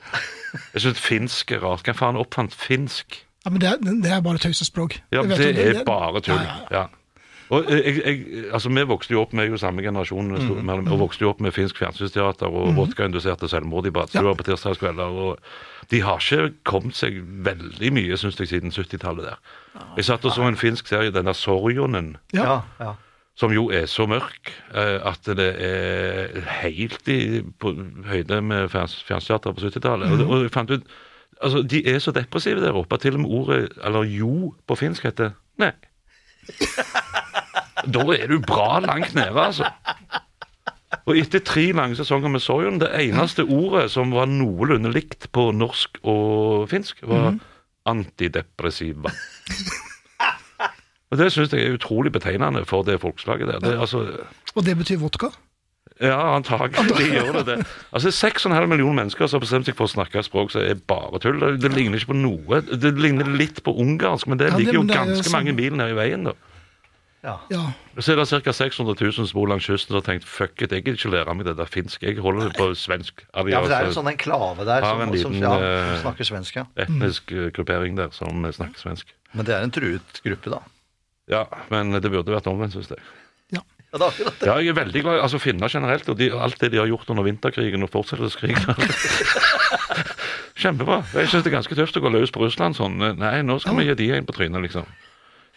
[SPEAKER 5] Jeg syns finsk er rart. Hvem faen oppfant finsk?
[SPEAKER 3] Ja, men det er, det er bare tøysespråk.
[SPEAKER 5] Ja,
[SPEAKER 3] Jeg
[SPEAKER 5] men
[SPEAKER 3] vet
[SPEAKER 5] det
[SPEAKER 3] jo-
[SPEAKER 5] er bare tull.
[SPEAKER 3] Ja, ja, ja.
[SPEAKER 5] Ja. Og jeg, jeg, altså, Vi vokste jo opp med jo samme generasjon,
[SPEAKER 3] Mm.
[SPEAKER 5] vi sto- mellom- og vokste jo opp med finsk fjernsynsteater og vodkainduserte selvmord i badstuer på tirsdagskvelder. og De har ikke kommet seg veldig mye, syns jeg, siden 70-tallet der. Jeg satt og så en finsk serie, den der Sorjonen,
[SPEAKER 3] Ja.
[SPEAKER 4] Ja, ja.
[SPEAKER 5] som jo er så mørk eh, at det er helt i, på høyde med fjerns- fjernsynsteater på 70-tallet. Og, og jeg fant ut Altså, De er så depressive der oppe at til og med ordet eller jo på finsk heter nei. da er du bra langt nede, altså. Og etter tre lange sesonger med Sorgen, det eneste ordet som var noenlunde likt på norsk og finsk, var antidepressiva. Og Det syns jeg er utrolig betegnende for det folkeslaget der. Det, er altså,
[SPEAKER 3] Og det betyr vodka?
[SPEAKER 5] ja, antagelig gjør det det. Altså, 6,5 millioner mennesker som har bestemt seg for å snakke et språk som er bare tull. Det, det ligner ikke på noe. Det ligner litt på ungarsk, men det
[SPEAKER 3] Ja, det-
[SPEAKER 5] ligger jo
[SPEAKER 3] men det er jo
[SPEAKER 5] ganske
[SPEAKER 3] sånn-
[SPEAKER 5] mange mil ned i veien, da.
[SPEAKER 4] ja.
[SPEAKER 3] Ja.
[SPEAKER 5] Så er det ca. 600 000 som bor langs kysten og har tenkt fuck it, jeg gidder ikke lære meg det der finsk, jeg holder det på svensk.
[SPEAKER 4] Ja, for Det er jo
[SPEAKER 5] altså,
[SPEAKER 4] sånn enklave der
[SPEAKER 5] Har
[SPEAKER 4] som,
[SPEAKER 5] en
[SPEAKER 4] som,
[SPEAKER 5] liten,
[SPEAKER 4] ja,
[SPEAKER 5] eh,
[SPEAKER 4] som snakker svensk. ja.
[SPEAKER 5] Etnisk eh, gruppering der som eh, snakker svensk.
[SPEAKER 4] Men det er en truet gruppe, da.
[SPEAKER 5] Ja, men det burde vært omvendt, syns jeg.
[SPEAKER 4] Ja, det er akkurat det.
[SPEAKER 5] Ja, jeg er veldig glad i altså, finner generelt, og de, alt det de har gjort under vinterkrigen og fortsettelseskrigen. Kjempebra. Jeg syns det er ganske tøft å gå løs på Russland sånn. Nei, nå skal vi gi de en på trynet, liksom.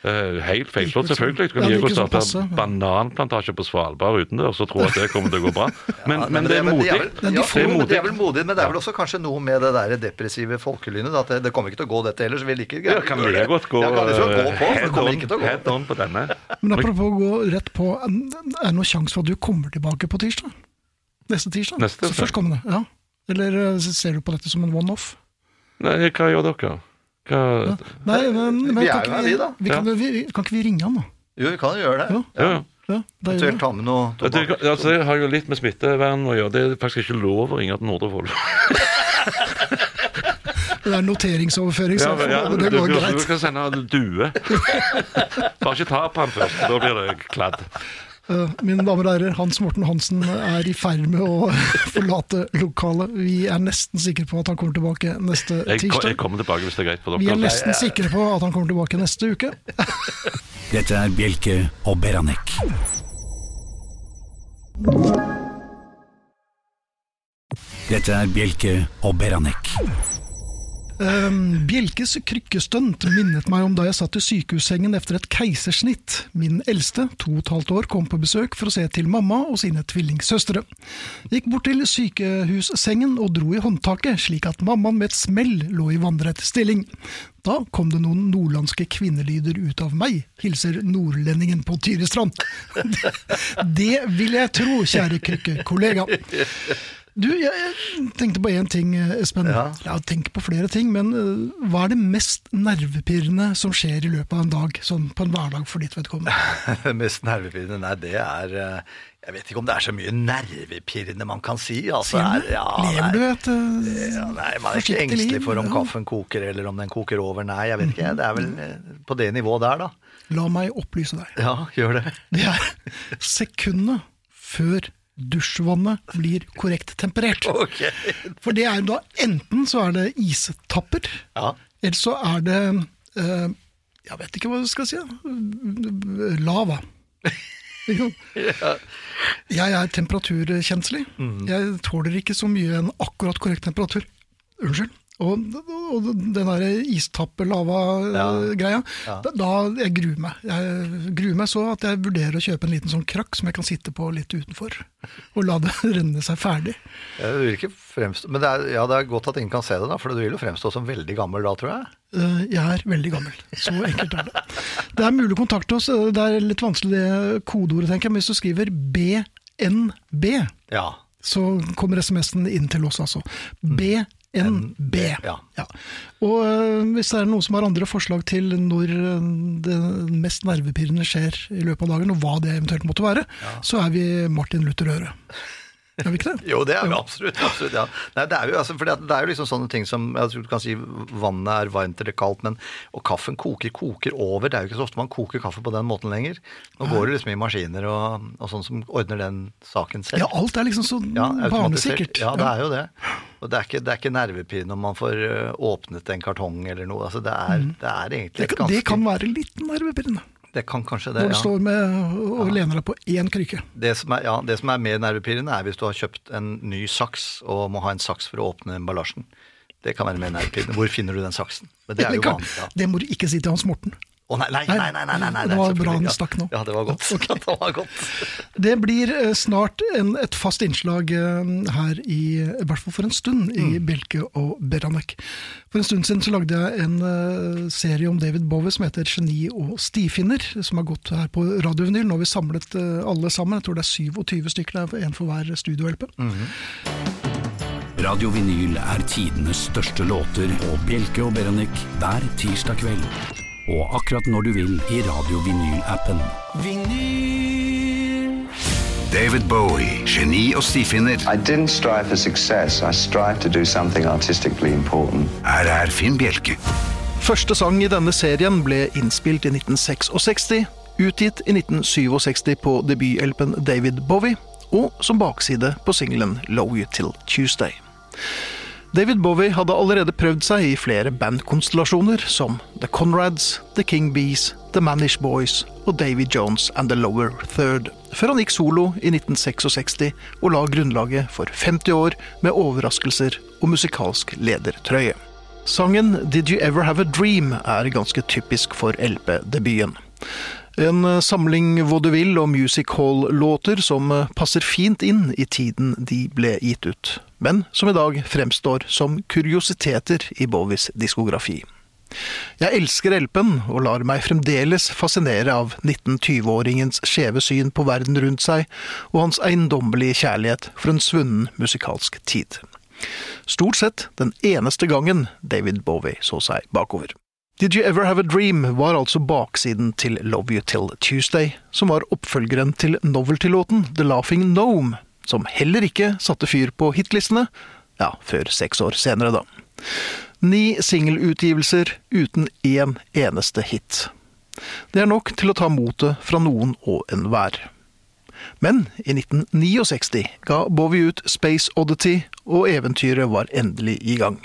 [SPEAKER 5] Eh, helt
[SPEAKER 3] Virker
[SPEAKER 5] feilslått,
[SPEAKER 3] som-
[SPEAKER 5] selvfølgelig. Du kan
[SPEAKER 3] Ja,
[SPEAKER 5] like å
[SPEAKER 3] virker som
[SPEAKER 5] starte
[SPEAKER 3] passe, ja.
[SPEAKER 5] bananplantasje på Svalbard utendørs og tro at det kommer til å gå bra. Men,
[SPEAKER 4] Ja,
[SPEAKER 5] men det er
[SPEAKER 4] vel-
[SPEAKER 5] modig.
[SPEAKER 4] vel-
[SPEAKER 3] Men de
[SPEAKER 4] ja,
[SPEAKER 3] får-
[SPEAKER 4] men
[SPEAKER 5] modig.
[SPEAKER 4] det er vel modig, men det er vel også kanskje noe med det der depressive folkelynet. da, At det, det kommer ikke til å gå dette heller, så vi liker
[SPEAKER 5] Ja, kan like godt gå,
[SPEAKER 4] ja, kan liksom gå
[SPEAKER 5] eh,
[SPEAKER 4] på, for det
[SPEAKER 5] head,
[SPEAKER 4] kommer
[SPEAKER 5] on,
[SPEAKER 4] ikke til å gå.
[SPEAKER 5] head on på denne.
[SPEAKER 3] Men apropos å gå rett på, er det noen sjanse for at du kommer tilbake på tirsdag? Neste tirsdag?
[SPEAKER 5] Neste
[SPEAKER 3] Så
[SPEAKER 5] tirsdag.
[SPEAKER 3] Førstkommende, ja. Eller eh, ser du på dette som en one-off?
[SPEAKER 5] Nei, hva gjør dere? Hva,
[SPEAKER 3] Ja. Nei, men, men
[SPEAKER 4] Vi
[SPEAKER 3] kan
[SPEAKER 4] er jo
[SPEAKER 3] ikke
[SPEAKER 4] her, vi, da.
[SPEAKER 3] vi, kan, vi, kan ikke vi ringe han, da?
[SPEAKER 4] Jo, vi kan jo gjøre det.
[SPEAKER 3] Ja.
[SPEAKER 5] ja. ja.
[SPEAKER 3] Ja, da gjør vi
[SPEAKER 4] Eventuelt
[SPEAKER 3] det.
[SPEAKER 4] ta med noe
[SPEAKER 5] Ja, Det,
[SPEAKER 4] tobakk.
[SPEAKER 5] altså, det har jo litt med smittevern å gjøre. Det er faktisk ikke lov å ringe til Nordre Follo.
[SPEAKER 3] Det er noteringsoverføring, så
[SPEAKER 5] Ja, men, ja,
[SPEAKER 3] det- det
[SPEAKER 5] du,
[SPEAKER 3] går
[SPEAKER 5] du, du
[SPEAKER 3] greit.
[SPEAKER 5] kan sende en due. Bare ikke ta på han først, da blir det kladd.
[SPEAKER 3] Eh, Mine damer og herrer, Hans Morten Hansen er i ferd med å forlate lokalet. Vi er nesten sikre på at han kommer tilbake neste
[SPEAKER 5] Jeg, ko- jeg
[SPEAKER 3] tirsdag.
[SPEAKER 5] kommer tilbake hvis det er greit for
[SPEAKER 3] Vi er
[SPEAKER 5] dere.
[SPEAKER 3] nesten sikre på at han kommer tilbake neste uke.
[SPEAKER 2] Dette er Bjelke og Beranek. Dette er Bjelke og Beranek.
[SPEAKER 3] Ehm, Bjelkes krykkestønt minnet meg om da jeg satt i sykehussengen etter et keisersnitt. Min eldste, to og et halvt år, kom på besøk for å se til mamma og sine tvillingsøstre. Gikk bort til sykehussengen og dro i håndtaket, slik at mammaen med et smell lå i vannrett stilling. Da kom det noen nordlandske kvinnelyder ut av meg, hilser nordlendingen på Tyristrand. Det vil jeg tro, kjære krykkekollega. Du, jeg jeg tenkte på én ting, eh, Espen.
[SPEAKER 4] Ja.
[SPEAKER 3] Jeg har tenkt på flere ting, men øh, hva er det mest nervepirrende som skjer i løpet av en dag, sånn på en hverdag for ditt vedkommende?
[SPEAKER 4] mest nervepirrende? Nei, det er eh, Jeg vet ikke om det er så mye nervepirrende man kan si. Altså, er, ja, nei.
[SPEAKER 3] Lever du et øh,
[SPEAKER 4] Ja, nei, Man er ikke
[SPEAKER 3] forsiktig
[SPEAKER 4] engstelig
[SPEAKER 3] liv?
[SPEAKER 4] for om
[SPEAKER 3] Ja.
[SPEAKER 4] kaffen koker, eller om den koker over. Nei, jeg vet ikke. Det er vel eh, på det nivået der, da.
[SPEAKER 3] La meg opplyse deg.
[SPEAKER 4] Ja, gjør det.
[SPEAKER 3] Det er sekundet før dusjvannet blir korrekt temperert.
[SPEAKER 4] Ok.
[SPEAKER 3] For det er jo da enten så er det istapper,
[SPEAKER 4] Ja.
[SPEAKER 3] eller så er det
[SPEAKER 6] eh,
[SPEAKER 3] øh, Jeg vet ikke hva jeg skal si. da. Lava. Ikke sant? Jeg er temperaturkjenslig. Jeg tåler ikke så mye en akkurat korrekt temperatur. Unnskyld.
[SPEAKER 6] Og, og den der istappe-lava-greia. Da, da jeg gruer meg. Jeg gruer meg så at jeg vurderer å kjøpe en liten sånn krakk som jeg kan sitte på litt utenfor. Og la det renne seg ferdig.
[SPEAKER 4] Ja, Det vil ikke fremstå, men det er, ja, det er godt at ingen kan se det, da, for du vil jo fremstå som veldig gammel da, tror jeg.
[SPEAKER 6] Eh, Jeg er veldig gammel. Så enkelt er det. Det er mulig å kontakte oss. Eh, Det er litt vanskelig det kodeordet, tenker jeg. Men hvis du skriver BNB,
[SPEAKER 4] Ja.
[SPEAKER 6] så kommer SMS-en inn til oss, altså. BNB.
[SPEAKER 4] Mm. ja.
[SPEAKER 6] Ja. Og eh, hvis det er noen som har andre forslag til når eh, det mest nervepirrende skjer i løpet av dagen, og hva det eventuelt måtte være, så er vi Martin Luther Øre. Er vi ikke det?
[SPEAKER 4] Jo, det er vi absolutt. absolutt ja. Nei, det, er jo, altså, fordi at det er jo liksom sånne ting som jeg tror Du kan si vannet er varmt eller kaldt, men og kaffen koker, koker over. Det er jo ikke så ofte man koker kaffe på den måten lenger. Nå går det liksom i maskiner og, og sånn som ordner den saken selv.
[SPEAKER 6] Ja, alt er liksom så
[SPEAKER 4] Ja, automatisert.
[SPEAKER 6] barnesikkert.
[SPEAKER 4] Ja, det er jo det. Og det er ikke, det er ikke nervepirrende om man får ø, åpnet en kartong eller noe. Altså, det, er, det er egentlig
[SPEAKER 6] Mm. Det
[SPEAKER 4] et
[SPEAKER 6] kan, det
[SPEAKER 4] ganske-
[SPEAKER 6] kan være litt nervepirrende.
[SPEAKER 4] det kan kanskje det,
[SPEAKER 6] Når du
[SPEAKER 4] ja.
[SPEAKER 6] står med og lener deg på én krykke.
[SPEAKER 4] Det som, er, ja, det som er mer nervepirrende, er hvis du har kjøpt en ny saks og må ha en saks for å åpne emballasjen. Det kan være mer nervepirrende. Hvor finner du den saksen? Men det er jo
[SPEAKER 6] kan-
[SPEAKER 4] vanlig. Ja.
[SPEAKER 6] det må du ikke si til Hans Morten.
[SPEAKER 4] Å nei, nei, nei, nei, nei, nei, nei,
[SPEAKER 6] Det var
[SPEAKER 4] selvfølgelig,
[SPEAKER 6] bra den
[SPEAKER 4] ja.
[SPEAKER 6] stakk nå.
[SPEAKER 4] Ja, det var godt. det var godt.
[SPEAKER 6] Det blir eh, snart en, et fast innslag eh, her i I hvert fall for en stund i
[SPEAKER 4] Mm.
[SPEAKER 6] Bjelke og Beranek. For en stund siden så lagde jeg en eh, serie om David Bowie som heter 'Geni og stifinner', som har gått her på radiovinyl. Nå har vi samlet eh, alle sammen. Jeg tror det er 27 stykker, det er en for hver studio-LP.
[SPEAKER 4] Mm.
[SPEAKER 2] Radio Vinyl er tidenes største låter og Bjelke og Beranek hver tirsdag kveld. Og akkurat når du vil i Radio Vinyl-appen.
[SPEAKER 7] David Bowie, geni og stifinner.
[SPEAKER 8] I didn't strive for success. I strived to do something artistically important.
[SPEAKER 7] Her er Finn Bjelke.
[SPEAKER 3] Første sang i denne serien ble innspilt i 1966, utgitt i 1967 på debutelpen David Bowie, og som bakside på singelen Low You Till Tuesday. David Bowie hadde allerede prøvd seg i flere bandkonstellasjoner, som The Conrads, The King Bees, The Manish Boys og Davy Jones and The Lower Third, før han gikk solo i 1966 og la grunnlaget for 50 år med overraskelser og musikalsk ledertrøye. Sangen Did You Ever Have a Dream er ganske typisk for LP-debuten. En eh, samling vaudeville og music hall-låter som eh, passer fint inn i tiden de ble gitt ut, men som i dag fremstår som kuriositeter i Bowies diskografi. Jeg elsker LP-en og lar meg fremdeles fascinere av 1920-åringens skjeve syn på verden rundt seg og hans eiendommelige kjærlighet for en svunnen musikalsk tid. Stort sett den eneste gangen David Bowie så seg bakover. Did You Ever Have a Dream var altså baksiden til Love You Till Tuesday, som var oppfølgeren til novelty-låten The Laughing Gnome, som heller ikke satte fyr på hitlistene, ja, før seks år senere, da. Ni singelutgivelser uten én eneste hit. Det er nok til å ta motet fra noen og enhver. Men i 1969 ga Bowie ut Space Oddity, og eventyret var endelig i gang.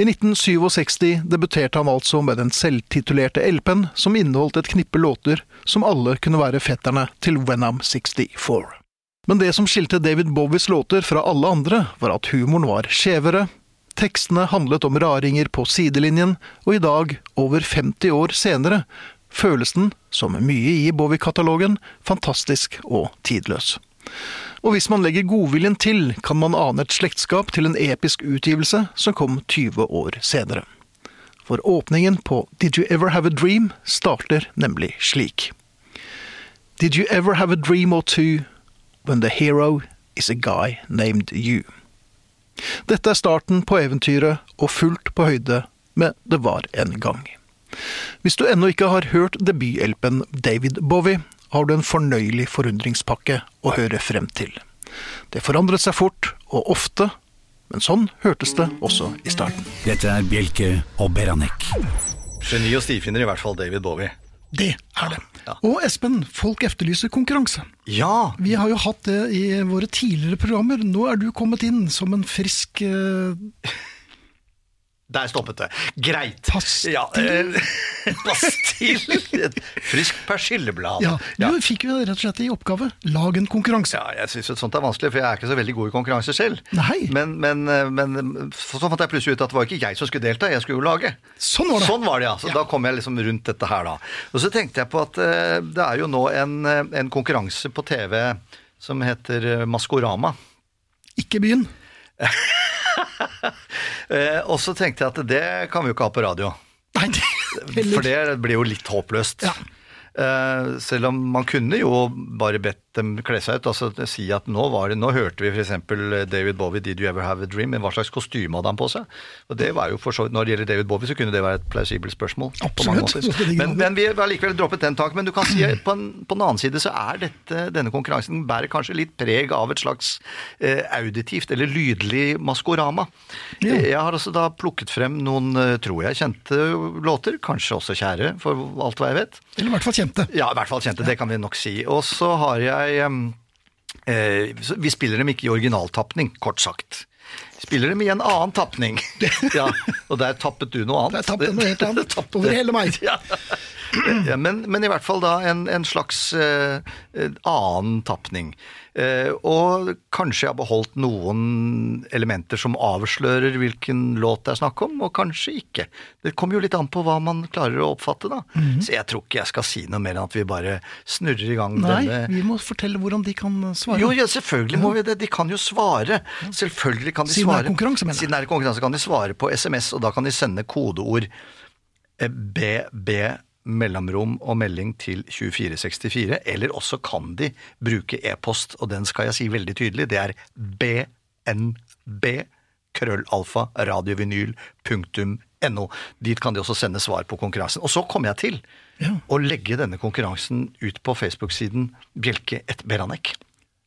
[SPEAKER 3] I 1967 debuterte han altså med den selvtitulerte LP-en som inneholdt et knippe låter som alle kunne være fetterne til Wenham 64. Men det som skilte David Bowies låter fra alle andre, var at humoren var skjevere, tekstene handlet om raringer på sidelinjen, og i dag, over 50 år senere, føles den, som mye i Bowie-katalogen, fantastisk og tidløs. Og hvis man legger godviljen til, kan man ane et slektskap til en episk utgivelse som kom 20 år senere. For åpningen på Did You Ever Have a Dream starter nemlig slik. Did you ever have a dream or two when the hero is a guy named you? Dette er starten på eventyret og fullt på høyde med Det var en gang. Hvis du ennå ikke har hørt debutelpen David Bowie, har du en fornøyelig forundringspakke å høre frem til. Det forandret seg fort og ofte, men sånn hørtes det også i starten.
[SPEAKER 2] Dette er Bjelke og Beranek.
[SPEAKER 4] Geni og stifinner, i hvert fall David Bowie.
[SPEAKER 6] Det er det. Og Espen, folk efterlyser konkurranse.
[SPEAKER 4] Ja!
[SPEAKER 6] Vi har jo hatt det i våre tidligere programmer. Nå er du kommet inn som en frisk eh,
[SPEAKER 4] Der stoppet det. Greit.
[SPEAKER 3] Pastill.
[SPEAKER 4] Ja, eh, pastill. Et Friskt persilleblad.
[SPEAKER 3] Ja,
[SPEAKER 4] Ja.
[SPEAKER 3] Du fikk jo rett og slett i oppgave lag en konkurranse.
[SPEAKER 4] Ja, jeg syns sånt er vanskelig, for jeg er ikke så veldig god i konkurranser selv.
[SPEAKER 3] Nei.
[SPEAKER 4] Men, men, eh, men så så fant jeg plutselig ut at det var ikke jeg som skulle delta, jeg skulle jo lage.
[SPEAKER 3] Sånn var det.
[SPEAKER 4] Sånn var det, ja. Så da kom jeg liksom rundt dette her, da. Og så tenkte jeg på at eh, det er jo nå en, eh, en konkurranse på TV som heter eh, Maskorama.
[SPEAKER 3] Ikke begynn.
[SPEAKER 4] Eh, og så tenkte jeg at det kan vi jo ikke ha på radio.
[SPEAKER 3] Nei, det,
[SPEAKER 4] For det blir jo litt håpløst.
[SPEAKER 3] Ja.
[SPEAKER 4] Eh, selv om man kunne jo bare bedt dem kle seg ut. altså si at Nå var det, nå hørte vi f.eks. David Bowie, 'Did You Ever Have a Dream'? Men hva slags kostyme hadde han på seg? Og det var jo for så vidt, Når det gjelder David Bowie, så kunne det være et plausibelt spørsmål. på mange
[SPEAKER 3] Absolutt.
[SPEAKER 4] måter. Men, men vi har likevel droppet den tanken. Men du kan si at på, en- på den annen side så er dette, denne konkurransen bærer kanskje litt preg av et slags eh, auditivt eller lydlig maskorama.
[SPEAKER 3] Ja.
[SPEAKER 4] Jeg har altså da plukket frem noen, eh, tror jeg, kjente låter. Kanskje også kjære, for alt hva jeg vet.
[SPEAKER 3] Eller i hvert fall kjente.
[SPEAKER 4] Ja, i hvert fall kjente, det kan vi nok si. Og så har jeg em, eh, så Vi spiller dem ikke i originaltapning, kort sagt. Spiller dem i en annen tapning. Ja, og der tappet du noe
[SPEAKER 3] Jeg
[SPEAKER 4] annet.
[SPEAKER 3] tapte noe helt annet. Tapt over hele meg.
[SPEAKER 4] Ja, men, men i hvert fall da en, en slags eh, eh, annen tapning. Eh, og kanskje jeg har beholdt noen elementer som avslører hvilken låt det er snakk om, og kanskje ikke. Det kommer jo litt an på hva man klarer å oppfatte, da. Så jeg tror ikke jeg skal si noe mer enn at vi bare snurrer i gang
[SPEAKER 3] Nei,
[SPEAKER 4] denne
[SPEAKER 3] vi må fortelle hvordan de kan svare.
[SPEAKER 4] jo, ja, selvfølgelig må vi det. De kan jo svare. Selvfølgelig kan de
[SPEAKER 3] Siden det er
[SPEAKER 4] svare.
[SPEAKER 3] konkurranse, mener jeg.
[SPEAKER 4] Siden det er konkurranse, kan de svare på SMS, og da kan de sende kodeord eh, BB mellomrom og melding til 2464, eller også kan de bruke e-post, og den skal jeg si veldig tydelig, det er bnb krøllalfa radiovinyl.no. Dit kan de også sende svar på konkurransen. Og så kom jeg til å legge denne konkurransen ut på Facebook-siden Bjelke et Beranek.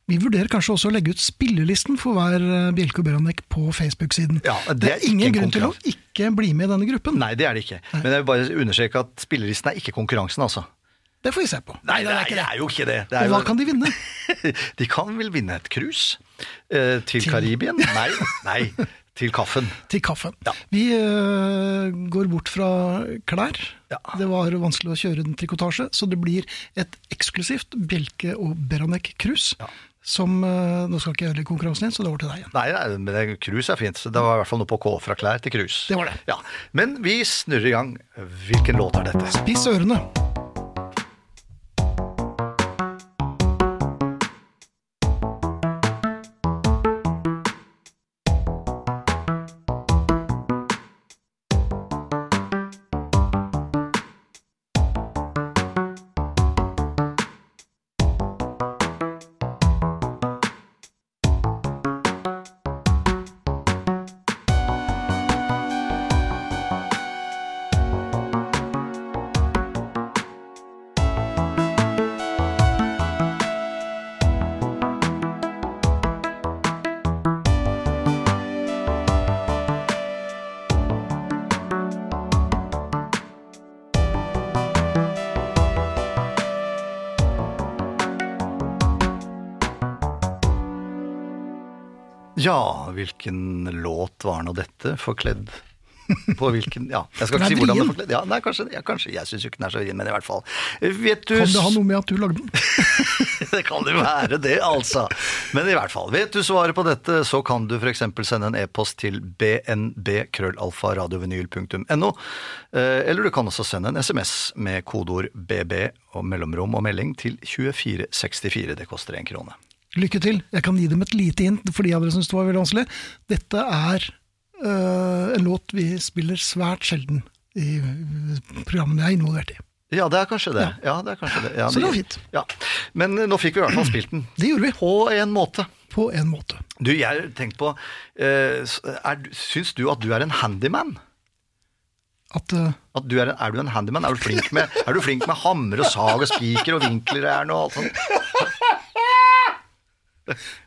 [SPEAKER 3] Vi vurderer kanskje også å legge ut spillelisten for hver eh, Bjelke og Beranek på Facebook-siden.
[SPEAKER 4] Ja, det er ikke
[SPEAKER 3] ingen
[SPEAKER 4] en
[SPEAKER 3] grunn til å
[SPEAKER 4] konkurranse.
[SPEAKER 3] ikke bli med i denne gruppen.
[SPEAKER 4] Nei, det er det ikke. Men jeg vil bare understreke at spillerlisten er ikke konkurransen, altså.
[SPEAKER 3] Det får vi se på.
[SPEAKER 4] Nei, det er, jo ikke det. det er
[SPEAKER 3] Og hva
[SPEAKER 4] jo-
[SPEAKER 3] kan de vinne?
[SPEAKER 4] de kan vel vinne et krus eh, til, Karibien? Nei, nei, til kaffen.
[SPEAKER 3] Til kaffen.
[SPEAKER 4] Ja.
[SPEAKER 3] Vi eh, går bort fra klær.
[SPEAKER 4] Ja.
[SPEAKER 3] Det var vanskelig å kjøre en trikotasje, så det blir et eksklusivt Bjelke og Beranek-krus. Som eh, Nå skal ikke jeg ødelegge konkurransen din, så det er over til deg igjen.
[SPEAKER 4] Nei, nei, men det- krus er fint. så Det var i hvert fall noe på K, fra klær til krus.
[SPEAKER 3] Det var det.
[SPEAKER 4] Ja. Men vi snurrer i gang. Hvilken låt er dette?
[SPEAKER 3] Spiss ørene.
[SPEAKER 4] Ja, hvilken låt var nå dette? Forkledd på hvilken Ja, jeg skal
[SPEAKER 3] Den
[SPEAKER 4] ikke si
[SPEAKER 3] er
[SPEAKER 4] hvordan det er
[SPEAKER 3] vrien.
[SPEAKER 4] forkledd. Ja, nei, kanskje, ja, kanskje. Jeg syns jo ikke den er så vrien, men i hvert fall. Vet du
[SPEAKER 3] Kan det ha noe med at du lagde den?
[SPEAKER 4] Det kan jo være det, altså. Men i hvert fall, vet du svaret på dette, så kan du f.eks. sende en e-post til bnb.krøllalfa.radiovinyl.no. eh, Eller du kan også sende en SMS med kodeord BB og mellomrom og melding til 2464. Det koster én krone.
[SPEAKER 3] Lykke til. Jeg kan gi dem et lite hint for de av dere som syntes det var veldig vanskelig. Dette er øh, en låt vi spiller svært sjelden i øh, programmene jeg er involvert i.
[SPEAKER 4] Ja, det er kanskje det. Ja, det er kanskje det. Ja,
[SPEAKER 3] Så det var fint.
[SPEAKER 4] Ja. Men eh, nå fikk vi i hvert fall spilt den.
[SPEAKER 3] Det gjorde vi.
[SPEAKER 4] På en måte.
[SPEAKER 3] På en måte.
[SPEAKER 4] Du, jeg tenkte på eh, s- er, du- Syns du at du er en handyman?
[SPEAKER 3] At øh,
[SPEAKER 4] At du er, en- er du en handyman? Er du flink med, er du flink med hammer og sag og spiker og vinkler og alt sånt?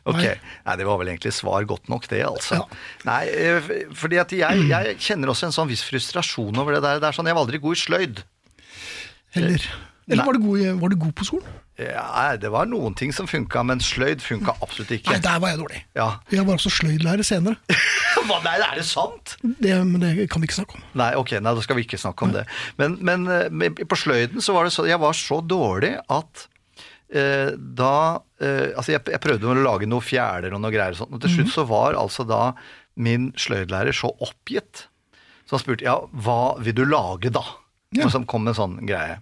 [SPEAKER 4] Ok.
[SPEAKER 3] Nei.
[SPEAKER 4] Nei, det var vel egentlig svar godt nok, det, altså.
[SPEAKER 3] Ja.
[SPEAKER 4] Nei, eh, f- fordi at jeg, jeg kjenner også en sånn viss frustrasjon over det der. Det er sånn, Jeg var aldri god i sløyd.
[SPEAKER 3] Heller. Eller var du, god, var du god på skolen?
[SPEAKER 4] Ja, det var noen ting som funka, men sløyd funka absolutt ikke.
[SPEAKER 3] Nei, der var jeg dårlig.
[SPEAKER 4] Ja.
[SPEAKER 3] Jeg var også sløydlærer senere.
[SPEAKER 4] Hva, nei, er det sant?
[SPEAKER 3] Det, men det kan vi ikke snakke om.
[SPEAKER 4] Nei, ok, nei, da skal vi ikke snakke om det. Men, men eh, men på sløyden så var det så, jeg var så dårlig at eh, da eh, Altså, jeg, jeg prøvde å lage noe fjerder og noe greier og sånt, og til
[SPEAKER 3] Mhm.
[SPEAKER 4] slutt så var altså da min sløydlærer så oppgitt. Så han spurte ja, hva vil du lage da?
[SPEAKER 3] Ja.
[SPEAKER 4] Og så kom en sånn greie.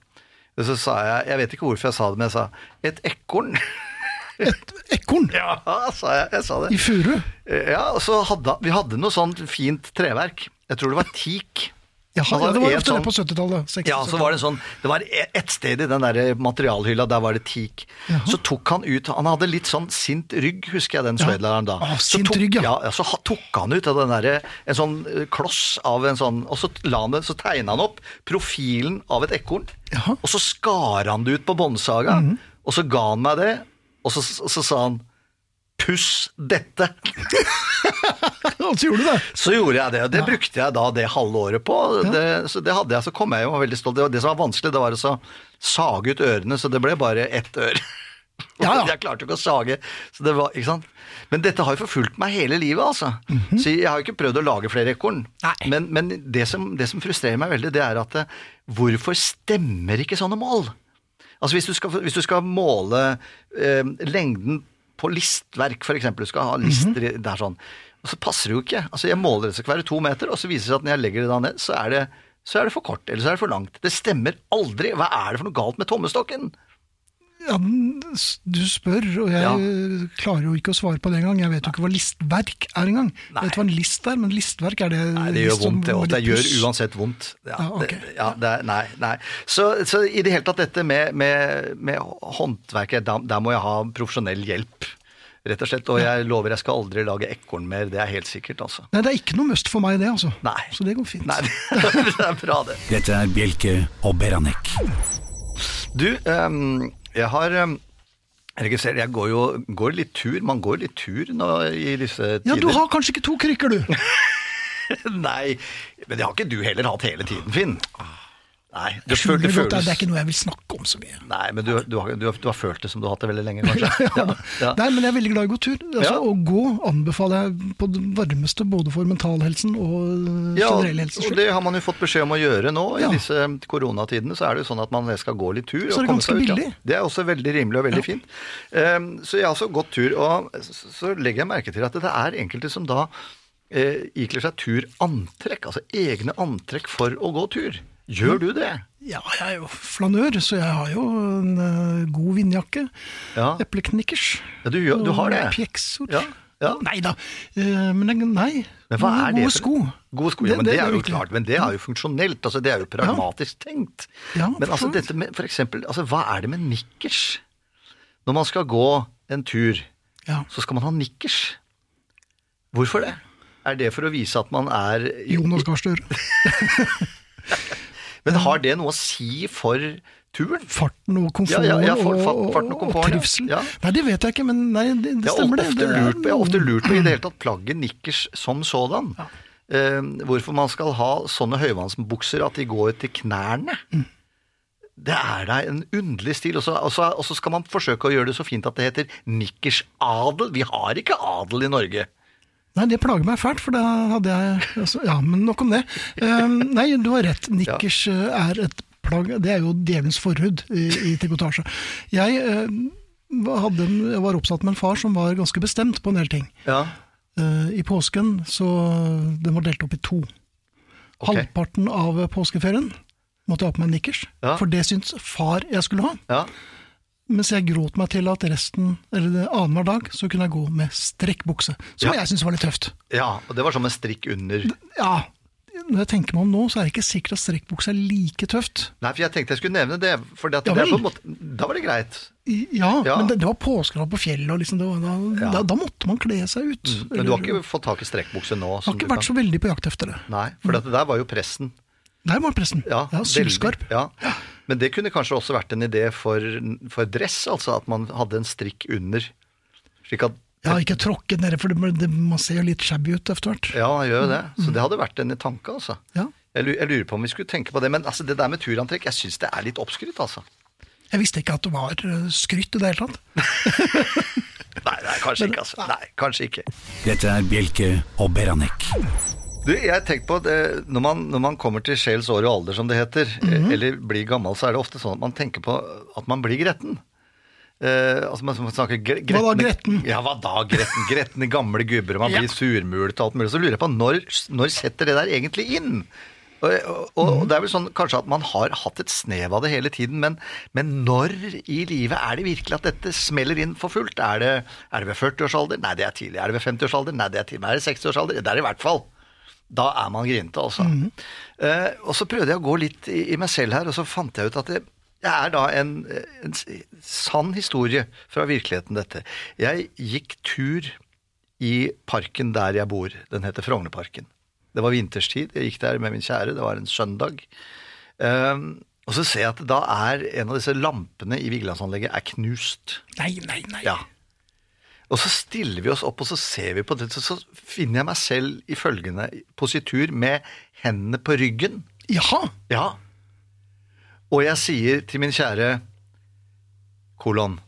[SPEAKER 4] Og så sa jeg, jeg vet ikke hvorfor jeg sa det, men jeg sa et ekorn.
[SPEAKER 3] Ekorn
[SPEAKER 4] Ja, sa jeg. Jeg sa det.
[SPEAKER 3] i furu.
[SPEAKER 4] Eh, Ja, og så hadde, Vi hadde noe sånt fint treverk. Jeg tror det var teak.
[SPEAKER 3] Ja,
[SPEAKER 4] Han hadde
[SPEAKER 3] det var
[SPEAKER 4] en
[SPEAKER 3] ofte det
[SPEAKER 4] sånn-
[SPEAKER 3] på 70-tallet. 60-,
[SPEAKER 4] Ja, så var det en sånn Det var e- ett sted i den der materialhylla, der var det teak. Så tok han ut Han hadde litt sånn sint rygg, husker jeg den sløydlæreren da.
[SPEAKER 3] Ah,
[SPEAKER 4] Så
[SPEAKER 3] sint
[SPEAKER 4] tok-
[SPEAKER 3] rygg, ja.
[SPEAKER 4] ja. Så ha- tok han ut av den derre En sånn eh, kloss av en sånn Og så, la han det, så tegna han opp profilen av et ekorn.
[SPEAKER 3] Jaha. Mhm.
[SPEAKER 4] Og så skar han det ut på båndsaga, og så ga han meg det, og så, så, så sa han Puss dette!
[SPEAKER 3] Ja, så gjorde du det.
[SPEAKER 4] Så gjorde jeg det, og det brukte jeg da det halve året på. Det, så det hadde jeg, så kom jeg jo og var veldig stolt. Det, var det som var vanskelig, det var å så sage ut ørene, så det ble bare ett øre.
[SPEAKER 3] Ja, ja.
[SPEAKER 4] Jeg klarte jo ikke å sage. Så det var, ikke sant? Men dette har jo forfulgt meg hele livet, altså.
[SPEAKER 3] Mhm.
[SPEAKER 4] Så jeg har jo ikke prøvd å lage flere ekorn. Men, men det, som, det som frustrerer meg veldig, det er at eh, hvorfor stemmer ikke sånne mål? Altså hvis du skal, hvis du skal måle eh, lengden på listverk, for eksempel, du skal ha lister
[SPEAKER 3] Mhm.
[SPEAKER 4] i- der sånn, og så passer det jo ikke. Altså jeg måler det skal være to meter, og så viser det seg at når jeg legger det da ned, så er det, så er det for kort, eller så er det for langt. Det stemmer aldri. Hva er det for noe galt med tommestokken?
[SPEAKER 3] Ja, men s- du spør, og jeg
[SPEAKER 4] Ja.
[SPEAKER 3] eh, klarer jo ikke å svare på det engang. Jeg vet jo ikke hva listverk er engang. Jeg vet hva en list er, men listverk er det
[SPEAKER 4] Nei, det gjør
[SPEAKER 3] list som
[SPEAKER 4] vondt, det
[SPEAKER 3] går
[SPEAKER 4] også.
[SPEAKER 3] i
[SPEAKER 4] Det gjør
[SPEAKER 3] pluss.
[SPEAKER 4] uansett vondt. Ja,
[SPEAKER 3] Ja, Ah, ok.
[SPEAKER 4] det, ja, det er, nei, nei. Så, så i det hele tatt dette med, med, med håndverket, da- der må jeg ha profesjonell hjelp. Rett og slett, og jeg lover jeg skal aldri lage ekorn mer, det er helt sikkert, altså.
[SPEAKER 3] Nei, det er ikke noe must for meg, det, altså.
[SPEAKER 4] Nei.
[SPEAKER 3] Så det går fint.
[SPEAKER 4] Nei, det er bra det.
[SPEAKER 2] Dette er Bjelke og Beranek.
[SPEAKER 4] Du, ehm, jeg har ehm, registrert Jeg går jo går litt tur. Man går litt tur nå i disse tider.
[SPEAKER 3] Ja, du har kanskje ikke to krykker, du.
[SPEAKER 4] Nei, men det har ikke du heller hatt hele tiden, Finn. Nei, du
[SPEAKER 3] Ah. Jeg skjønner
[SPEAKER 4] føl- det
[SPEAKER 3] godt, det
[SPEAKER 4] føles-
[SPEAKER 3] er ikke noe jeg vil snakke om så mye.
[SPEAKER 4] Nei, men du, du, har, du, har, du har følt det som du har hatt det veldig lenge, kanskje? Ja, ja.
[SPEAKER 3] Nei, men jeg er veldig glad i å gå tur. Altså,
[SPEAKER 4] Ja.
[SPEAKER 3] Å gå anbefaler jeg på det varmeste både for mentalhelsen og øh,
[SPEAKER 4] Ja,
[SPEAKER 3] generell helse.
[SPEAKER 4] og det har man jo fått beskjed om å gjøre nå.
[SPEAKER 3] Ja.
[SPEAKER 4] I disse koronatidene så er det jo sånn at man skal gå litt tur.
[SPEAKER 3] Så er det
[SPEAKER 4] og komme
[SPEAKER 3] ganske
[SPEAKER 4] seg ut, ja.
[SPEAKER 3] billig.
[SPEAKER 4] Det er også veldig rimelig og veldig fint. Ehm, så jeg har også gått tur, og s- så legger jeg merke til at det er enkelte som da eh, ikler seg turantrekk, altså egne antrekk for å gå tur. Gjør du det?
[SPEAKER 3] Ja, jeg er jo flanør, så jeg har jo en øh, god vindjakke.
[SPEAKER 4] Ja.
[SPEAKER 3] Epleknikkers.
[SPEAKER 4] Ja, du, gjør, du har det.
[SPEAKER 3] Og Pjeksor.
[SPEAKER 4] Ja, ja.
[SPEAKER 3] Nei da. Eh, Men jeg- nei.
[SPEAKER 4] Men hva er det
[SPEAKER 3] Gode
[SPEAKER 4] for-
[SPEAKER 3] sko.
[SPEAKER 4] Gode sko, ja, men det, er jo
[SPEAKER 3] virkelig.
[SPEAKER 4] klart, men det er jo funksjonelt, altså det er jo pragmatisk tenkt.
[SPEAKER 3] Ja,
[SPEAKER 4] men altså
[SPEAKER 3] forstår.
[SPEAKER 4] dette med, for eksempel, altså hva er det med nikkers? Når man skal gå en tur,
[SPEAKER 3] Ja.
[SPEAKER 4] så skal man ha nikkers. Hvorfor det? Er det for å vise at man er
[SPEAKER 3] Jonas Gahr Støre.
[SPEAKER 4] Men har det noe å si for turen?
[SPEAKER 3] Farten og komforten
[SPEAKER 4] Ja, ja, ja, for-
[SPEAKER 3] og,
[SPEAKER 4] fart- farten og komforten, ja.
[SPEAKER 3] trivsel.
[SPEAKER 4] Ja.
[SPEAKER 3] Nei, det vet jeg ikke, men nei, det, det stemmer det. det
[SPEAKER 4] jeg har ofte
[SPEAKER 3] er
[SPEAKER 4] lurt på, jeg har ofte
[SPEAKER 3] noen-
[SPEAKER 4] lurt på i det hele tatt plagget nikkers som sådan. Eh, hvorfor man skal ha sånne høyvannsbukser at de går til knærne.
[SPEAKER 3] Mm.
[SPEAKER 4] Det er da en underlig stil. Og så, og, så, og så skal man forsøke å gjøre det så fint at det heter nikkersadel. Vi har ikke adel i Norge.
[SPEAKER 3] Nei, det plager meg fælt, for da hadde jeg altså, Ja, men nok om det. Um, nei, du har rett. Nikkers eh, er et plagg Det er jo djevelens forhud i, i trikotasje. Jeg eh, hadde en, jeg var oppsatt med en far som var ganske bestemt på en del ting.
[SPEAKER 4] Ja,
[SPEAKER 3] Eh, I påsken så eh, Den var delt opp i to.
[SPEAKER 4] Ok.
[SPEAKER 3] Halvparten av påskeferien måtte jeg ha på meg nikkers,
[SPEAKER 4] Ja.
[SPEAKER 3] for det syntes far jeg skulle ha.
[SPEAKER 4] ja.
[SPEAKER 3] Mens jeg gråt meg til at resten, eller det annenhver dag, så kunne jeg gå med strekkbukse. Som
[SPEAKER 4] Ja.
[SPEAKER 3] jeg syntes var litt tøft.
[SPEAKER 4] ja og det var som en strikk under.
[SPEAKER 3] Ja, når jeg tenker meg om nå, så er det ikke sikkert at strekkbukse er like tøft.
[SPEAKER 4] Nei, for jeg tenkte jeg skulle nevne det. For det
[SPEAKER 3] Ja
[SPEAKER 4] er på
[SPEAKER 3] vel.
[SPEAKER 4] en måte, da var det greit.
[SPEAKER 3] I- Ja,
[SPEAKER 4] Ja.
[SPEAKER 3] men det, det var påskedag på fjellet, og liksom det var, da,
[SPEAKER 4] Ja. Mm,
[SPEAKER 3] da, da måtte man kle seg ut.
[SPEAKER 4] Men du har
[SPEAKER 3] Eller-
[SPEAKER 4] ikke fått tak i strekkbukse nå?
[SPEAKER 3] har
[SPEAKER 4] som
[SPEAKER 3] ikke
[SPEAKER 4] du
[SPEAKER 3] vært så
[SPEAKER 4] kan-
[SPEAKER 3] veldig på jakt etter det.
[SPEAKER 4] Nei, for dette der var jo pressen.
[SPEAKER 3] Der var pressen.
[SPEAKER 4] Ja, veldig.
[SPEAKER 3] Sylskarp.
[SPEAKER 4] Ja. Men det kunne kanskje også vært en idé for, for dress, altså at man hadde en strikk under. Slik at
[SPEAKER 3] Jeg har ikke tråkket nede, for det, det, man ser jo litt shabby ut etter hvert.
[SPEAKER 4] Ja, han gjør jo det. Så det hadde vært en tanke, altså.
[SPEAKER 3] Ja.
[SPEAKER 4] Jeg lu- jeg lurer på om vi skulle tenke på det. Men altså, det der med turantrekk, jeg syns det er litt oppskrytt, altså.
[SPEAKER 3] Jeg visste ikke at det var eh, skryt i det hele tatt.
[SPEAKER 4] Nei, nei, kanskje ikke, altså. Nei, kanskje ikke.
[SPEAKER 2] Dette er Bjelke og Beranek.
[SPEAKER 4] Du, jeg tenkte på at eh, når man, når man kommer til sjels år og alder, som det heter, eh,
[SPEAKER 3] Mhm.
[SPEAKER 4] eller blir gammel, så er det ofte sånn at man tenker på at man blir gretten. Eh, altså man man snakker gre
[SPEAKER 3] Hva da, gretten?
[SPEAKER 4] Ja, hva da gretten? Gretne gamle gubber, og man blir surmulet og alt mulig. Så lurer jeg på, når, når setter det der egentlig inn? Og, og,
[SPEAKER 3] Mhm.
[SPEAKER 4] og det er vel sånn kanskje at man har hatt et snev av det hele tiden, men, men når i livet er det virkelig at dette smeller inn for fullt? Er det, er det ved 40-årsalder? Nei, det er tidlig. Er det ved 50-årsalder? Nei, det er tidlig. Er det 60-årsalder? Det er det i hvert fall. Da er man grinete, altså. Eh, og så prøvde jeg å gå litt i, i meg selv her, og så fant jeg ut at det, det er da en, en s- sann historie fra virkeligheten, dette. Jeg gikk tur i parken der jeg bor. Den heter Frognerparken. Det var vinterstid, jeg gikk der med min kjære, det var en søndag. Eh, og så ser jeg at da er en av disse lampene i Vigelandsanlegget er knust.
[SPEAKER 3] Nei, nei, nei.
[SPEAKER 4] Ja. Og så stiller vi oss opp, og så ser vi på det, så, så finner jeg meg selv i følgende positur med hendene på ryggen.
[SPEAKER 3] Jaha!
[SPEAKER 4] Ja. Og jeg sier til min kjære kolon,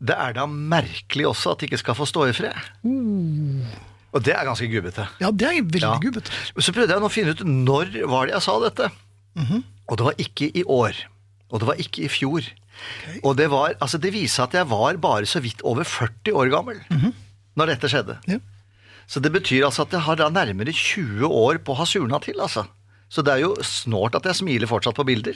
[SPEAKER 4] det er da merkelig også at de ikke skal få stå i fred. Og det er ganske gubbete.
[SPEAKER 3] Ja, det er veldig
[SPEAKER 4] Ja.
[SPEAKER 3] gubbete.
[SPEAKER 4] Så prøvde jeg nå å finne ut når var det jeg sa dette. Og det var ikke i år. Og det var ikke i fjor. Og det, var, altså det viser at jeg var bare så vidt over 40 år gammel når dette skjedde.
[SPEAKER 3] Ja.
[SPEAKER 4] Så det betyr altså at jeg har da nærmere 20 år på å ha surna til, altså. Så det er jo snålt at jeg smiler fortsatt på bilder.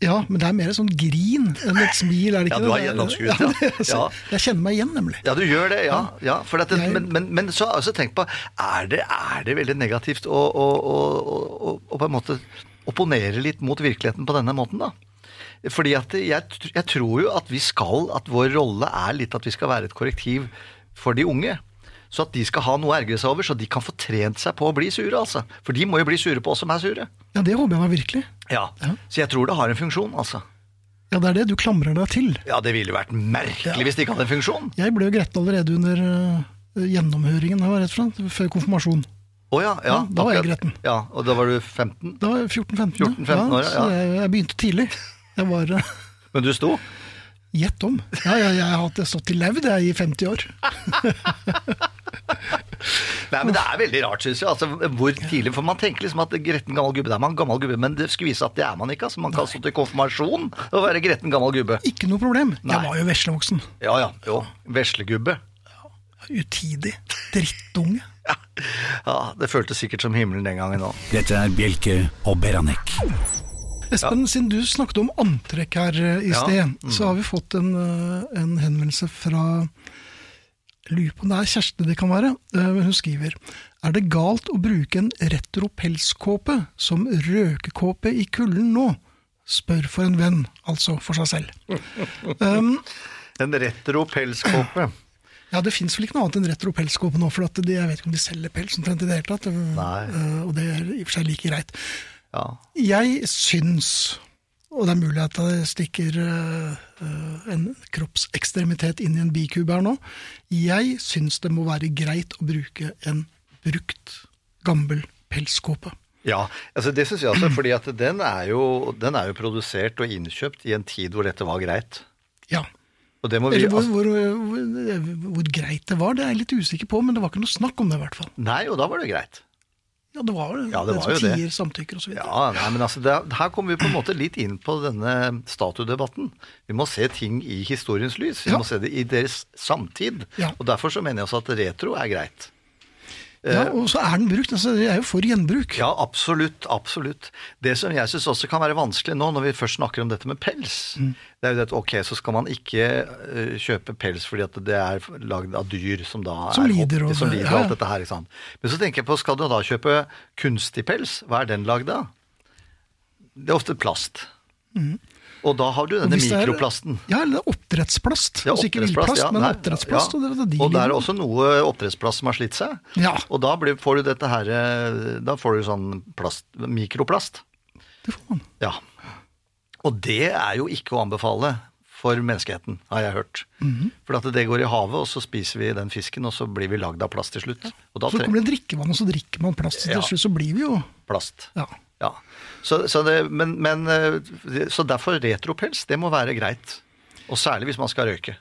[SPEAKER 3] Ja, men det er mer et sånn grin enn et smil, er det
[SPEAKER 4] Ja,
[SPEAKER 3] ikke
[SPEAKER 4] du har
[SPEAKER 3] det?
[SPEAKER 4] gjennomskuet,
[SPEAKER 3] Ja,
[SPEAKER 4] ja.
[SPEAKER 3] det-
[SPEAKER 4] Ja.
[SPEAKER 3] Jeg kjenner meg igjen, nemlig.
[SPEAKER 4] Ja, du gjør det, ja. ja for at det,
[SPEAKER 3] Jeg-
[SPEAKER 4] men, men, men så har jeg også tenkt på, er det, er det veldig negativt å, å, å, å, å på en måte opponere litt mot virkeligheten på denne måten, da? Fordi at jeg, tr- jeg tror jo at vi skal, at vår rolle er litt at vi skal være et korrektiv for de unge. Så at de skal ha noe å ergre seg over, så de kan få trent seg på å bli sure, altså. For de må jo bli sure på oss som er sure.
[SPEAKER 3] Ja, det håper jeg meg virkelig.
[SPEAKER 4] Ja.
[SPEAKER 3] Ja.
[SPEAKER 4] Så jeg tror det har en funksjon, altså.
[SPEAKER 3] Ja, det er det du klamrer deg til.
[SPEAKER 4] Ja, det ville jo vært merkelig hvis det ikke hadde en funksjon.
[SPEAKER 3] Jeg ble jo gretten allerede under øh, gjennomhøringen, her, rett fra, før konfirmasjon.
[SPEAKER 4] Å ja, ja.
[SPEAKER 3] Ja, da var jeg
[SPEAKER 4] akkurat.
[SPEAKER 3] gretten.
[SPEAKER 4] Ja, og da var du 15?
[SPEAKER 3] Da var jeg 14-15.
[SPEAKER 4] 14-15 år, ja,
[SPEAKER 3] Så
[SPEAKER 4] ja.
[SPEAKER 3] jeg, jeg begynte tidlig. Jeg var øh,
[SPEAKER 4] Men du sto?
[SPEAKER 3] gjett om. Ja, ja, jeg har hatt det stått til levd jeg i 50 år.
[SPEAKER 4] Nei, men Det er veldig rart, syns jeg. Altså, hvor tidlig, for Man tenker liksom at gretten gammel gubbe, det er man gammel gubbe, men det skulle vise at det er man ikke. altså Man kan stå til konfirmasjon og være gretten gammel gubbe.
[SPEAKER 3] Ikke noe problem.
[SPEAKER 4] Nei.
[SPEAKER 3] Jeg var jo veslevoksen.
[SPEAKER 4] Ja, ja, jo, Veslegubbe.
[SPEAKER 3] Utidig. Drittunge.
[SPEAKER 4] Ja, Det føltes sikkert som himmelen den gangen òg.
[SPEAKER 2] Dette er Bjelke og Beranek.
[SPEAKER 3] Espen, siden du snakket om antrekk her eh, i
[SPEAKER 4] Ja, Mm.
[SPEAKER 3] sted, så har vi fått en, eh, en henvendelse fra jeg Lurer på om det er Kjersti det kan være. eh, men Hun skriver Er det galt å bruke en retro pelskåpe som røkekåpe i kulden nå? Spør for en venn, altså for seg selv. Um,
[SPEAKER 4] En retro pelskåpe.
[SPEAKER 3] ja, Det fins vel ikke noe annet enn retro pelskåpe nå, for at de, jeg vet ikke om de selger pels omtrent i det hele tatt.
[SPEAKER 4] Nei.
[SPEAKER 3] eh, Og det er i og for seg like greit.
[SPEAKER 4] Ja.
[SPEAKER 3] Jeg syns, og det er mulig at jeg stikker øh, øh, en kroppsekstremitet inn i en bikube her nå, jeg syns det må være greit å bruke en brukt, gammel pelskåpe.
[SPEAKER 4] ja, altså det syns jeg også, fordi at den er, jo, den er jo produsert og innkjøpt i en tid hvor dette var greit.
[SPEAKER 3] Ja.
[SPEAKER 4] Og det må vi...
[SPEAKER 3] Eller hvor,
[SPEAKER 4] altså-
[SPEAKER 3] hvor, hvor, hvor greit det var, det er jeg litt usikker på, men det var ikke noe snakk om det i hvert fall.
[SPEAKER 4] Nei, og da var det greit.
[SPEAKER 3] Ja, det var
[SPEAKER 4] Ja, det
[SPEAKER 3] den
[SPEAKER 4] var
[SPEAKER 3] som
[SPEAKER 4] jo det.
[SPEAKER 3] tier samtykker og så videre.
[SPEAKER 4] Ja, nei, men altså, det, Her kommer vi på en måte litt inn på denne statuedebatten. Vi må se ting i historiens lys. Vi
[SPEAKER 3] Ja.
[SPEAKER 4] må se det i deres samtid.
[SPEAKER 3] Ja.
[SPEAKER 4] Og Derfor så mener jeg også at retro er greit.
[SPEAKER 3] Ja, og så er den brukt, altså jeg er jo for gjenbruk.
[SPEAKER 4] eh, Ja, absolutt. absolutt. Det som jeg syns også kan være vanskelig nå, når vi først snakker om dette med pels,
[SPEAKER 3] Mm.
[SPEAKER 4] det er jo det at ok, så skal man ikke eh, kjøpe pels fordi at det er lagd av dyr som da
[SPEAKER 3] Som
[SPEAKER 4] er
[SPEAKER 3] lider
[SPEAKER 4] opp,
[SPEAKER 3] og-
[SPEAKER 4] som lider
[SPEAKER 3] ja, ja.
[SPEAKER 4] og alt dette her. ikke sant? Men så tenker jeg på, skal du da kjøpe kunstig pels? Hva er den lagd av? Det er ofte plast. Og da har du
[SPEAKER 3] Og
[SPEAKER 4] denne
[SPEAKER 3] Mm. hvis det er-
[SPEAKER 4] mikroplasten.
[SPEAKER 3] Ja, eller oppdrettsplast.
[SPEAKER 4] Ja,
[SPEAKER 3] altså ikke
[SPEAKER 4] oppdrettsplast,
[SPEAKER 3] villplast,
[SPEAKER 4] ja,
[SPEAKER 3] men
[SPEAKER 4] nei,
[SPEAKER 3] oppdrettsplast.
[SPEAKER 4] ja.
[SPEAKER 3] Og, det, det, de
[SPEAKER 4] og det er
[SPEAKER 3] lider.
[SPEAKER 4] også noe oppdrettsplast som har slitt seg.
[SPEAKER 3] Ja.
[SPEAKER 4] Og da blir, får du dette her eh, Da får du sånn plast, mikroplast.
[SPEAKER 3] Det får man.
[SPEAKER 4] Ja. Og det er jo ikke å anbefale for menneskeheten, har jeg hørt.
[SPEAKER 3] Mhm.
[SPEAKER 4] For at det går i havet, og så spiser vi den fisken, og så blir vi lagd av plast til slutt. Og da
[SPEAKER 3] Så
[SPEAKER 4] trenger
[SPEAKER 3] kommer det drikkevann, og så drikker man plast. Så
[SPEAKER 4] Ja.
[SPEAKER 3] Til slutt så blir vi jo
[SPEAKER 4] plast.
[SPEAKER 3] Ja.
[SPEAKER 4] Ja. Så, så, det, men, men, eh, det- så derfor retropels, det må være greit. Og særlig hvis man skal røyke.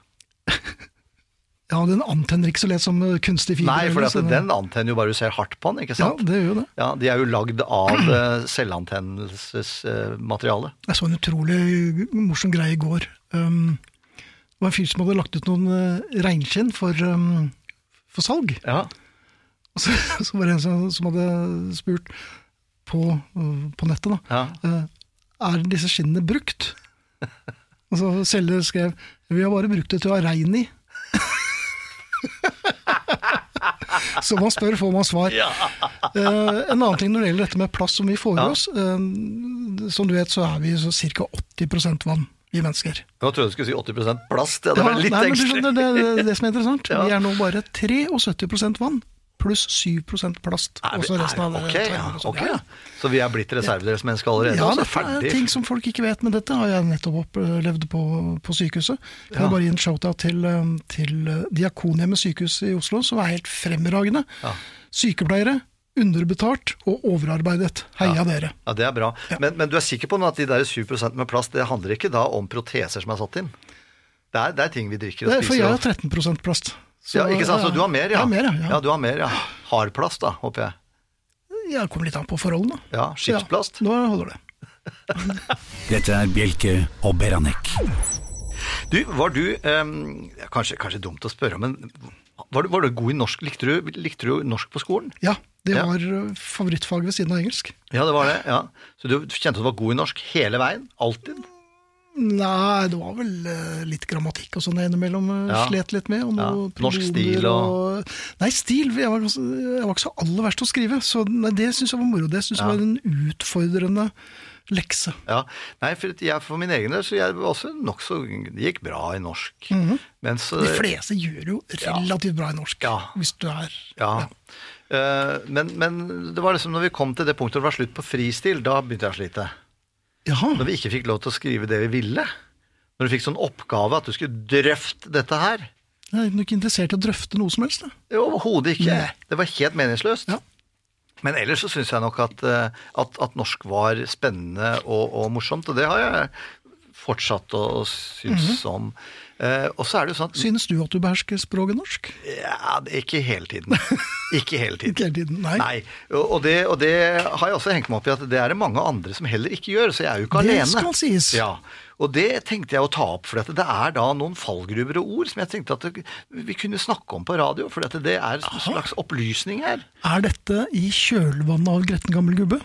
[SPEAKER 3] Ja, den antenner ikke så lett som eh, kunstig fiber.
[SPEAKER 4] Nei, for
[SPEAKER 3] eller,
[SPEAKER 4] at
[SPEAKER 3] så
[SPEAKER 4] den antenner jo bare du ser hardt på den, ikke
[SPEAKER 3] Ja,
[SPEAKER 4] sant?
[SPEAKER 3] det gjør jo det.
[SPEAKER 4] Ja, De er jo lagd av eh, selvantennelsesmateriale.
[SPEAKER 3] Jeg så en utrolig morsom greie i går. Um, det var en fyr som hadde lagt ut noen eh, reinskinn for, um, for salg.
[SPEAKER 4] Ja.
[SPEAKER 3] Og så, så var det en som, som hadde spurt på, øh, på nettet, da.
[SPEAKER 4] Ja.
[SPEAKER 3] eh, Er disse skinnene brukt? Og så selger skrev Vi har bare brukt det til å ha rein i. Så man spør, får man svar. Eh, en annen ting når det gjelder dette med plast som vi får i
[SPEAKER 4] Ja.
[SPEAKER 3] oss. eh, som du vet, så er vi så ca. 80 vann, vi mennesker.
[SPEAKER 4] Nå trodde jeg du skulle si 80 plast. Ja, det var
[SPEAKER 3] Ja,
[SPEAKER 4] litt
[SPEAKER 3] nei, men du
[SPEAKER 4] ekstra.
[SPEAKER 3] skjønner, det, det, det som er interessant.
[SPEAKER 4] Ja.
[SPEAKER 3] Vi er nå bare 73 vann, pluss 7 plast.
[SPEAKER 4] Er
[SPEAKER 3] og
[SPEAKER 4] vi-
[SPEAKER 3] så resten
[SPEAKER 4] er-
[SPEAKER 3] av det
[SPEAKER 4] ok,
[SPEAKER 3] tar vi
[SPEAKER 4] ja,
[SPEAKER 3] med oss.
[SPEAKER 4] ok,
[SPEAKER 3] Ja,
[SPEAKER 4] ja. Så vi er blitt reservedelsmennesker allerede?
[SPEAKER 3] Ja,
[SPEAKER 4] altså,
[SPEAKER 3] det er
[SPEAKER 4] ferdig.
[SPEAKER 3] ting som folk ikke vet, men dette har jeg nettopp opplevd på, på sykehuset. Jeg vil bare gi en shout-out til, eh, til eh, Diakonhjemmet sykehus i Oslo, som er helt fremragende. Sykepleiere, underbetalt og overarbeidet. Heia dere.
[SPEAKER 4] Ja, Det er bra. Men, men du er sikker på nå at de der 7 med plast, det handler ikke da om proteser som er satt inn? Det er, det er ting vi drikker og
[SPEAKER 3] Det er, for
[SPEAKER 4] spiser.
[SPEAKER 3] jeg har
[SPEAKER 4] og-
[SPEAKER 3] 13 plast. Så,
[SPEAKER 4] ja, ikke sant? Så du har mer, ja?
[SPEAKER 3] Jeg har mer, ja. ja.
[SPEAKER 4] du har mer, ja. Hard plast, da, håper jeg.
[SPEAKER 3] Jeg kommer litt an på forholdene.
[SPEAKER 4] Ja, skipsplast.
[SPEAKER 3] Ja, nå holder det.
[SPEAKER 2] Dette er Bjelke og Beranek.
[SPEAKER 4] Du, var du ehm, ja, kanskje, kanskje dumt å spørre, men var du, var du god i norsk? Likte du, likte du norsk på skolen?
[SPEAKER 3] Ja, det
[SPEAKER 4] Ja.
[SPEAKER 3] var eh, favorittfag ved siden av engelsk.
[SPEAKER 4] Ja, det var det. ja. Så du kjente at du var god i norsk hele veien? Alltid?
[SPEAKER 3] Nei, det var vel eh, litt grammatikk og sånn jeg innimellom eh,
[SPEAKER 4] Ja.
[SPEAKER 3] slet litt med. Og
[SPEAKER 4] Ja.
[SPEAKER 3] noe
[SPEAKER 4] Norsk stil
[SPEAKER 3] pronomer
[SPEAKER 4] og-
[SPEAKER 3] Nei, stil. Jeg var, ganske- jeg var ikke så aller verst til å skrive, så nei, det syns jeg var moro. Det syns jeg var en utfordrende lekse.
[SPEAKER 4] Ja, nei, for at jeg for min egen del, så jeg var også nokså Det gikk bra i norsk. Mens
[SPEAKER 3] De
[SPEAKER 4] eh,
[SPEAKER 3] fleste gjør jo relativt bra i norsk,
[SPEAKER 4] Ja.
[SPEAKER 3] hvis du er
[SPEAKER 4] Ja. Eh, men, men det var liksom når vi kom til det punktet hvor det var slutt på fristil, da begynte jeg å slite.
[SPEAKER 3] Jaha.
[SPEAKER 4] Når vi ikke fikk lov til å skrive det vi ville. Når du fikk sånn oppgave at du skulle drøfte dette her.
[SPEAKER 3] Jeg er ikke interessert i å drøfte noe som helst. da.
[SPEAKER 4] Det var Overhodet ikke.
[SPEAKER 3] Nei.
[SPEAKER 4] Det var helt meningsløst.
[SPEAKER 3] Ja.
[SPEAKER 4] Men ellers så syns jeg nok at, eh, at, at norsk var spennende og, og morsomt, og det har jeg fortsatt å synes om. Eh, og så er det jo sånn at
[SPEAKER 3] Synes du at du behersker språket norsk?
[SPEAKER 4] ja, det- Ikke hele tiden. Ikke hele tiden.
[SPEAKER 3] Ikke hele tiden, nei.
[SPEAKER 4] Nei, og og det, og det har jeg også hengt meg opp i at det er det mange andre som heller ikke gjør, så jeg er jo ikke
[SPEAKER 3] Det
[SPEAKER 4] alene.
[SPEAKER 3] skal sies.
[SPEAKER 4] Ja, og det tenkte jeg å ta opp, for at det er da noen fallgruver og ord som jeg tenkte at det- vi kunne snakke om på radio, for at det er en slags opplysning her.
[SPEAKER 3] Er dette i kjølvannet av Gretten gammel gubbe?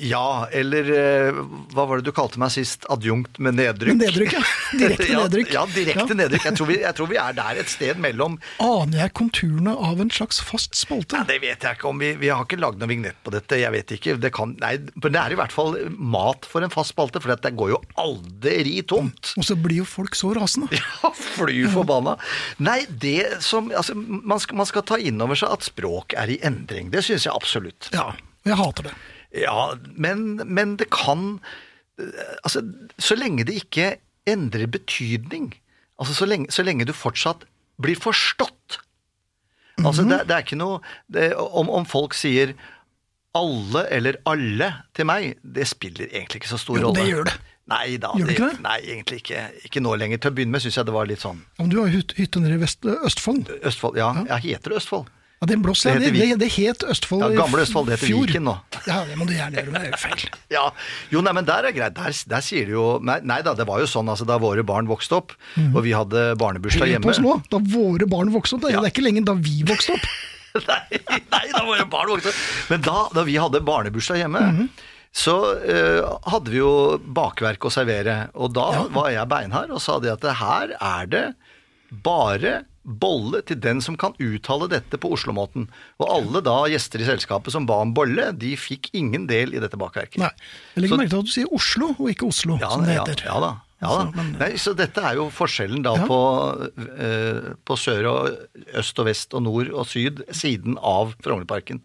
[SPEAKER 4] Ja, eller eh, hva var det du kalte meg sist? Adjunkt med nedrykk?
[SPEAKER 3] Med nedrykk, ja. Direkte
[SPEAKER 4] Ja,
[SPEAKER 3] nedrykk.
[SPEAKER 4] Ja, direkte
[SPEAKER 3] Ja.
[SPEAKER 4] nedrykk. Jeg tror, vi, jeg tror vi er der et sted mellom
[SPEAKER 3] Aner jeg konturene av en slags fast spalte?
[SPEAKER 4] Ja, det vet jeg ikke om. Vi, vi har ikke lagd noen vignett på dette. Jeg vet ikke. Det kan, nei, men det er i hvert fall mat for en fast spalte, for det går jo aldri tomt.
[SPEAKER 3] Og så blir jo folk så rasende.
[SPEAKER 4] Ja, fly forbanna. Nei, det som Altså, man skal, man skal ta inn over seg at språk er i endring. Det syns jeg absolutt.
[SPEAKER 3] Ja, og jeg hater det.
[SPEAKER 4] Ja, men, men det kan eh, Altså, så lenge det ikke endrer betydning, altså så lenge, så lenge du fortsatt blir forstått Altså,
[SPEAKER 3] Mhm.
[SPEAKER 4] det, det er ikke noe det, om, om folk sier alle eller alle til meg, det spiller egentlig ikke så stor
[SPEAKER 3] Jo,
[SPEAKER 4] rolle.
[SPEAKER 3] det gjør det.
[SPEAKER 4] Nei da.
[SPEAKER 3] Gjør det ikke det?
[SPEAKER 4] Nei, egentlig ikke. Ikke nå lenger. Til å begynne med syns jeg det var litt sånn
[SPEAKER 3] Ja, men du har jo hyt- hytte nede i Vest Østfold.
[SPEAKER 4] Østfold, ja. Jeg heter Østfold.
[SPEAKER 3] Ja, den blåser.
[SPEAKER 4] Det
[SPEAKER 3] Det,
[SPEAKER 4] heter
[SPEAKER 3] det,
[SPEAKER 4] Vi-
[SPEAKER 3] det, het Østfold
[SPEAKER 4] Ja,
[SPEAKER 3] i
[SPEAKER 4] gamle Østfold, det heter
[SPEAKER 3] fjor.
[SPEAKER 4] Viken nå.
[SPEAKER 3] Ja, det må du gjerne gjøre, men det er jo feil.
[SPEAKER 4] Ja, jo nei, men der er greit. Der, der sier de jo nei, nei da, det var jo sånn altså, da våre barn vokste opp, og vi hadde barnebursdag
[SPEAKER 3] Hør Mhm. på
[SPEAKER 4] hjemme.
[SPEAKER 3] oss nå, da våre barn vokste opp. Det,
[SPEAKER 4] Ja.
[SPEAKER 3] det er ikke lenge da vi vokste opp.
[SPEAKER 4] nei, nei, da våre barn vokste opp. Men da, da vi hadde barnebursdag hjemme,
[SPEAKER 3] Mhm.
[SPEAKER 4] så eh, hadde vi jo bakverk å servere. Og da var jeg beinhard og sa det at det her er det bare bolle til den som kan uttale dette på Oslomåten. Og alle da gjester i selskapet som ba om bolle, de fikk ingen del i dette bakverket.
[SPEAKER 3] Nei, Jeg legger
[SPEAKER 4] Så-
[SPEAKER 3] merke til at du sier Oslo, og ikke Oslo,
[SPEAKER 4] Ja,
[SPEAKER 3] som det
[SPEAKER 4] ja,
[SPEAKER 3] heter.
[SPEAKER 4] ja da. Ja, da.
[SPEAKER 3] Altså, men-
[SPEAKER 4] Nei, så dette er jo forskjellen da
[SPEAKER 3] Ja.
[SPEAKER 4] på, eh, på sør og øst og vest og nord og syd, siden av Frognerparken.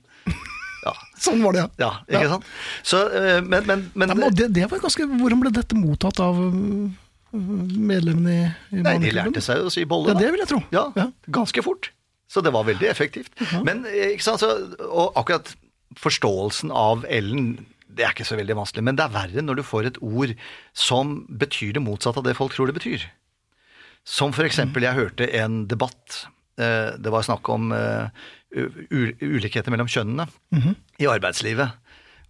[SPEAKER 4] Ja,
[SPEAKER 3] Sånn var det,
[SPEAKER 4] ja ikke sant? Så, eh, men, men, men
[SPEAKER 3] Nei, men, og det, det var ganske, hvordan ble dette mottatt av øh, medlemmene i, i
[SPEAKER 4] Nei, de
[SPEAKER 3] barneklubben?
[SPEAKER 4] lærte seg å si bolle,
[SPEAKER 3] Ja,
[SPEAKER 4] da.
[SPEAKER 3] det vil jeg tro.
[SPEAKER 4] Ja,
[SPEAKER 3] Ja.
[SPEAKER 4] ganske fort. Så det var veldig effektivt. Men eh, ikke sant, så, og akkurat forståelsen av Ellen Det er ikke så veldig vanskelig, men det er verre når du får et ord som betyr det motsatte av det folk tror det betyr. Som for eksempel, jeg hørte en debatt. eh, Det var snakk om eh, u- ulikheter mellom kjønnene
[SPEAKER 3] Mhm.
[SPEAKER 4] i arbeidslivet.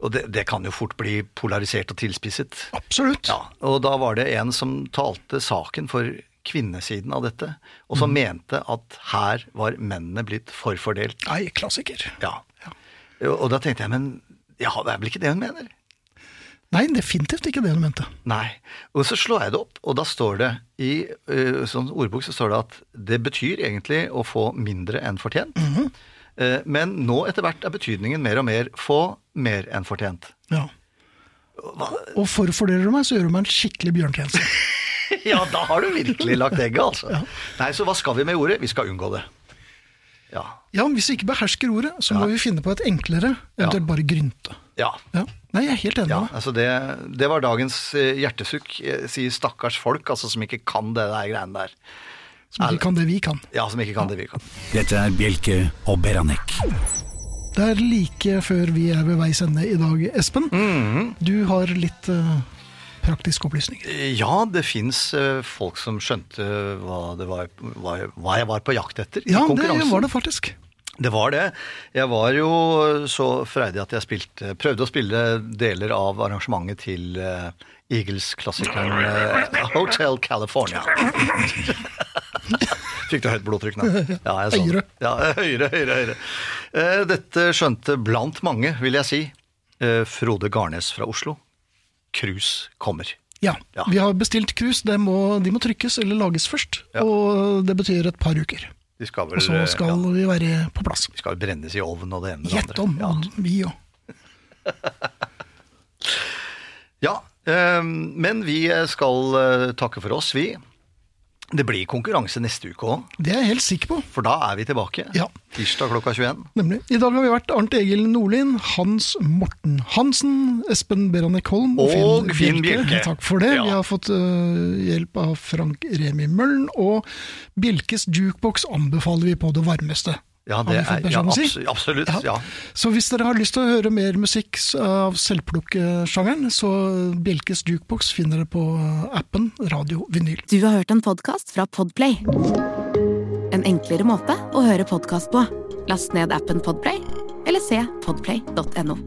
[SPEAKER 4] Og det, det kan jo fort bli polarisert og tilspisset.
[SPEAKER 3] Absolutt.
[SPEAKER 4] Ja, og da var det en som talte saken for kvinnesiden av dette, og som mente at her var mennene blitt forfordelt.
[SPEAKER 3] Nei, klassiker.
[SPEAKER 4] Ja. Og da tenkte jeg, men ja, det er vel ikke det hun mener?
[SPEAKER 3] Nei, definitivt ikke det du mente.
[SPEAKER 4] Nei. Og så slår jeg det opp, og da står det i eh, sånn ordbok så står det at det betyr egentlig å få mindre enn fortjent. Eh, men nå etter hvert er betydningen mer og mer få mer enn fortjent.
[SPEAKER 3] Ja. Og forfordeler du meg, så gjør du meg en skikkelig bjørntjeneste.
[SPEAKER 4] ja, da har du virkelig lagt egget, altså. Nei, så hva skal vi med ordet? Vi skal unngå det. Ja.
[SPEAKER 3] Ja, men hvis vi ikke behersker ordet, så må vi finne på et enklere, eventuelt bare grynte.
[SPEAKER 4] Ja.
[SPEAKER 3] Ja. Nei, jeg er helt enig
[SPEAKER 4] Ja,
[SPEAKER 3] med deg.
[SPEAKER 4] altså det, det var dagens eh, hjertesukk. eh, Sier stakkars folk altså, som ikke kan det der greiene der.
[SPEAKER 3] Som ikke kan det vi kan.
[SPEAKER 4] Ja, som ikke kan det vi kan.
[SPEAKER 2] Dette er Bjelke og Beranek.
[SPEAKER 3] Det er like før vi er ved veis ende i dag, Espen.
[SPEAKER 4] Mhm.
[SPEAKER 3] Du har litt eh, praktiske opplysninger.
[SPEAKER 4] Ja, det fins folk som skjønte eh, hva, det var, hva, jeg- hva jeg var på jakt etter
[SPEAKER 3] Ja,
[SPEAKER 4] i
[SPEAKER 3] det
[SPEAKER 4] konkurransen.
[SPEAKER 3] var det faktisk.
[SPEAKER 4] Det var det. Jeg var jo så freidig at jeg spilte, prøvde å spille deler av arrangementet til eh, Eagles-klassikeren eh, Hotel California. Fikk du høyt blodtrykk nå? Ja, jeg så det.
[SPEAKER 3] Høyere.
[SPEAKER 4] Ja, høyere, høyere, høyere. Eh, Dette skjønte blant mange, vil jeg si, eh, Frode Garnes fra Oslo. Cruise kommer.
[SPEAKER 3] Ja,
[SPEAKER 4] Ja.
[SPEAKER 3] Vi har bestilt krus. De må, de må trykkes eller lages først.
[SPEAKER 4] Ja.
[SPEAKER 3] Og det betyr et par uker.
[SPEAKER 4] De skal vel,
[SPEAKER 3] Og så
[SPEAKER 4] eh,
[SPEAKER 3] skal
[SPEAKER 4] ja,
[SPEAKER 3] vi være på plass.
[SPEAKER 4] de skal vel brennes i ovnen og det ene med det andre.
[SPEAKER 3] Gjett om.
[SPEAKER 4] Ja.
[SPEAKER 3] og Vi òg.
[SPEAKER 4] Ja, eh, men vi skal eh, takke for oss, vi. Det blir konkurranse neste uke òg,
[SPEAKER 3] Det er jeg helt sikker på.
[SPEAKER 4] for da er vi tilbake.
[SPEAKER 3] Ja.
[SPEAKER 4] Tirsdag klokka 21.
[SPEAKER 3] Nemlig. I dag har vi vært Arnt Egil Nordlien, Hans Morten Hansen, Espen Beranek Holm
[SPEAKER 4] Og Finn Bjelke.
[SPEAKER 3] Takk for det.
[SPEAKER 4] Ja.
[SPEAKER 3] Vi har fått øh, hjelp av Frank Remi Møllen, og Bjelkes jukebox anbefaler vi på det varmeste.
[SPEAKER 4] Ja,
[SPEAKER 3] Har
[SPEAKER 4] det
[SPEAKER 3] vi fått
[SPEAKER 4] er,
[SPEAKER 3] beskjed
[SPEAKER 4] ja,
[SPEAKER 3] om å si?
[SPEAKER 4] abso- absolutt. Ja.
[SPEAKER 3] Så hvis dere har lyst til å høre mer musikk s- av selvplukkesjangeren, så Bjelkes jukebox finner dere på eh, appen Radio Vinyl.
[SPEAKER 1] Du har hørt en podkast fra Podplay. En enklere måte å høre podkast på. Last ned appen Podplay, eller se podplay.no.